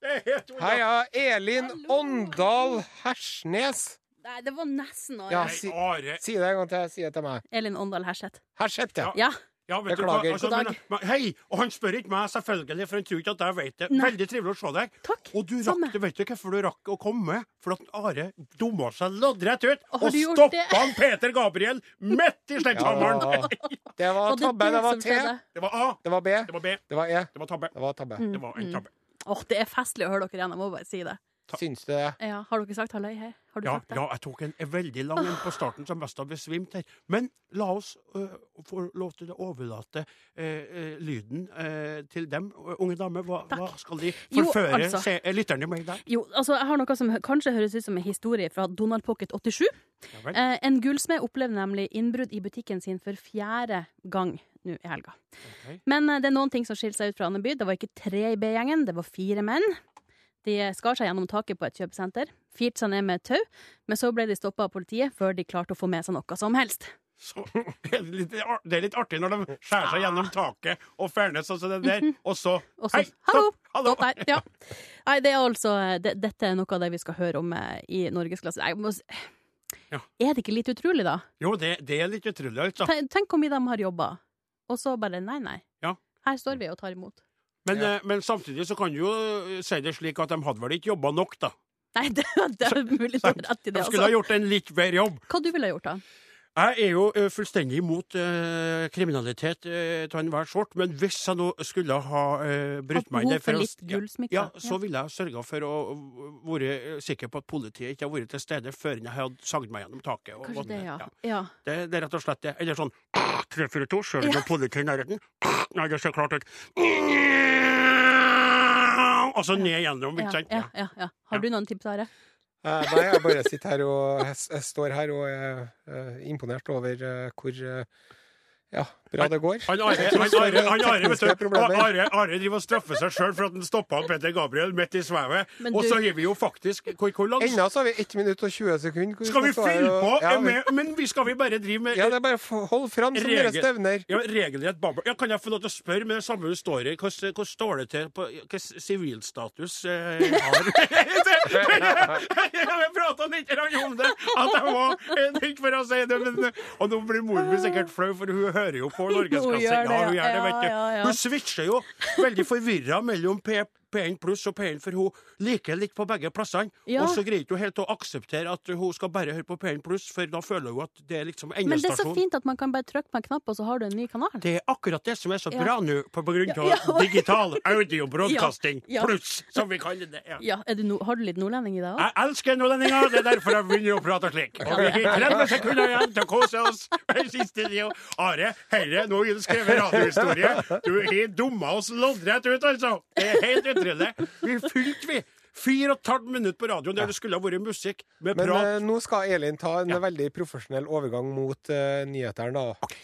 Speaker 2: det er helt tull.
Speaker 1: Hei, ja, Elin Åndal Hersnes.
Speaker 5: Nei, det var nesten
Speaker 1: Ja,
Speaker 5: Are.
Speaker 1: si,
Speaker 2: Nei, Are.
Speaker 1: si det en gang til. Si det til meg.
Speaker 5: Elin Åndal Herseth.
Speaker 1: Her sitter jeg.
Speaker 5: Ja.
Speaker 2: Ja, vet du hva, Altså,
Speaker 1: Beklager.
Speaker 5: God dag.
Speaker 2: men- men- hei, og han spør ikke meg, selvfølgelig, for han tror ikke at jeg vet det.
Speaker 5: Nei.
Speaker 2: Veldig trivelig å se deg.
Speaker 5: Takk.
Speaker 2: Og du
Speaker 5: Samme.
Speaker 2: rakk det, vet du hvorfor du rakk å komme? For at Are dumma seg loddrett ut
Speaker 5: Å, har
Speaker 2: og
Speaker 5: du gjort
Speaker 2: stoppa
Speaker 5: det?
Speaker 2: han Peter Gabriel midt i
Speaker 1: Ja.
Speaker 2: sledgehammeren.
Speaker 1: Det var
Speaker 5: det
Speaker 1: tabbe.
Speaker 5: det Mm.
Speaker 1: Det var
Speaker 5: som
Speaker 1: T.
Speaker 5: skjedde?
Speaker 2: Det var A,
Speaker 1: Det var B.
Speaker 2: det var B,
Speaker 1: Det var E.
Speaker 2: det var tabbe.
Speaker 1: Det var tabbe.
Speaker 2: Det var en tabbe.
Speaker 5: Åh, det er festlig å høre dere igjen. Jeg må bare si det.
Speaker 1: Syns du det?
Speaker 5: Ja, har dere sagt halløy her? Har du
Speaker 2: Ja,
Speaker 5: sagt det?
Speaker 2: ja, jeg tok en veldig lang en på starten som mest har besvimt her. Men la oss øh, få lov til å overlate øh, øh, lyden øh, til dem. Øh, Unge dame, hva, hva skal de
Speaker 5: Jo,
Speaker 2: forføre
Speaker 5: altså.
Speaker 2: se, øh, lytterne med i dag?
Speaker 5: Jo, altså, jeg har noe som kanskje høres ut som en historie fra Donald Pocket 87.
Speaker 2: Ja vel.
Speaker 5: Eh, en gullsmed opplevde nemlig innbrudd i butikken sin for fjerde gang nå i helga.
Speaker 2: Ok.
Speaker 5: Men eh, det er noen ting som skiller seg ut fra Andeby. Det var ikke tre i B-gjengen, det var fire menn. De skar seg gjennom taket på et kjøpesenter, firte seg ned med et tau, men så ble de stoppa av politiet før de klarte å få med seg noe som helst.
Speaker 2: Så, det, er litt, ar- det er litt artig når de skjærer seg gjennom taket og fernes sånn som det der, og så
Speaker 5: Ah. Mhm. Og så
Speaker 2: Hei,
Speaker 5: Hallo!
Speaker 2: stopp, hallo.
Speaker 5: Stopp der. Ja. Nei, det er altså det, Dette er noe av det vi skal høre om eh, i Norgesklasse. Nei, jeg må s-
Speaker 2: Ja.
Speaker 5: Er det ikke litt utrolig, da?
Speaker 2: Jo, det, det er litt utrolig, altså.
Speaker 5: Ten- Tenk hvor mye de har jobba, og så bare nei, nei.
Speaker 2: Ja.
Speaker 5: Her står vi og tar imot.
Speaker 2: Men,
Speaker 1: Ja.
Speaker 2: øh, men samtidig så kan du jo øh, si det slik at de hadde vel ikke jobba nok, da.
Speaker 5: Nei, det, det er mulig du har rett
Speaker 2: De
Speaker 5: i det.
Speaker 2: skulle ha
Speaker 5: Altså.
Speaker 2: gjort en litt bedre jobb.
Speaker 5: Hva du ville ha gjort, da?
Speaker 2: Jeg er jo ø, fullstendig imot ø, kriminalitet eh, ø, av enhver sort, men hvis jeg nå skulle ha ø, brutt
Speaker 5: Hatt
Speaker 2: meg inn
Speaker 5: behov for
Speaker 2: å-
Speaker 5: litt gullsmykker.
Speaker 2: Ja, ja,
Speaker 5: Ja.
Speaker 2: så ville jeg sørga for å ø, være ø, sikker på at politiet ikke har vært til stede før jeg hadde sagd meg gjennom taket. og
Speaker 5: Kanskje
Speaker 2: gått
Speaker 5: det,
Speaker 2: ned.
Speaker 5: ja.
Speaker 2: Ja.
Speaker 5: ja.
Speaker 2: Det, det er rett og slett det. Eller sånn 342, ser du
Speaker 5: Ja.
Speaker 2: noe politi i nærheten? Nei, det ser klart ut. Og så ned gjennom,
Speaker 5: Ja,
Speaker 2: ikke sant?
Speaker 5: ja, ja, ja. Har du noen tips, Are?
Speaker 1: Eh, nei, jeg bare sitter her og jeg, s- jeg står her og er eh, imponert over eh, hvor eh, ja, bra det går.
Speaker 2: Han Are,
Speaker 1: Jeg tror
Speaker 2: han
Speaker 1: det er
Speaker 2: Are, han Are, vet
Speaker 1: tekniske
Speaker 2: du,
Speaker 1: problemer.
Speaker 2: Are, Are driver og straffer seg sjøl for at han stoppa Peter Gabriel midt i svevet.
Speaker 5: Men
Speaker 2: Og
Speaker 5: du-
Speaker 2: så har vi jo faktisk Hvor, hvor langt
Speaker 1: Ennå så har vi 1 minutt og 20 sekunder. hvor
Speaker 2: skal vi
Speaker 1: stå her
Speaker 2: fylle
Speaker 1: og-
Speaker 2: på?
Speaker 1: Ja, vi-
Speaker 2: med, men vi skal vi bare drive med
Speaker 1: ja, det er bare å få- hold fram som dere
Speaker 2: Regel-
Speaker 1: stevner.
Speaker 2: ja, regelrett babbel. Ja, kan jeg få lov til å spørre med det samme du står i? Hvordan hvordan står det til på hvilken sivilstatus eh, har Jeg prata litt grann om det, at jeg var eh, ikke for å si det, men eh, Og nå blir moren min sikkert flau, for hun hører jo på
Speaker 5: Hun
Speaker 2: Norgesklasse.
Speaker 5: gjør det,
Speaker 2: Ja, hun gjør det,
Speaker 5: ja.
Speaker 2: vet du.
Speaker 5: Ja, ja, ja.
Speaker 2: Hun switcher jo veldig forvirra mellom P P1 pluss og P1, for hun liker litt på begge plassene.
Speaker 5: Ja.
Speaker 2: Og så greier ikke hun helt å akseptere at hun skal bare høre på P1 pluss, for da føler hun at det er liksom
Speaker 5: Men det er så
Speaker 2: endestasjonen.
Speaker 5: fint at man kan bare trykke på en knapp, og så har du en ny kanal.
Speaker 2: Det er akkurat det som er så
Speaker 5: Ja.
Speaker 2: bra nå, på grunn av
Speaker 5: Ja, ja.
Speaker 2: digital audio broadcasting
Speaker 5: Ja, ja.
Speaker 2: pluss, som vi kaller det. Ja.
Speaker 5: Ja, er du no Har du litt nordlending i deg òg?
Speaker 2: Jeg elsker nordlendinger, det er derfor jeg begynner å prate slik. Og vi har 30 sekunder igjen til å kose oss. med Siste video. Are, herre, nå har du skrevet radiohistorie. Du har dumma oss loddrett ut, altså. Det er helt utrolig. Vi fylte, vi. Fire og et halvt minutt på radioen der det skulle ha vært musikk med
Speaker 1: Men
Speaker 2: prat.
Speaker 1: eh, nå skal Elin ta en veldig profesjonell overgang mot uh, eh, nyhetene, da.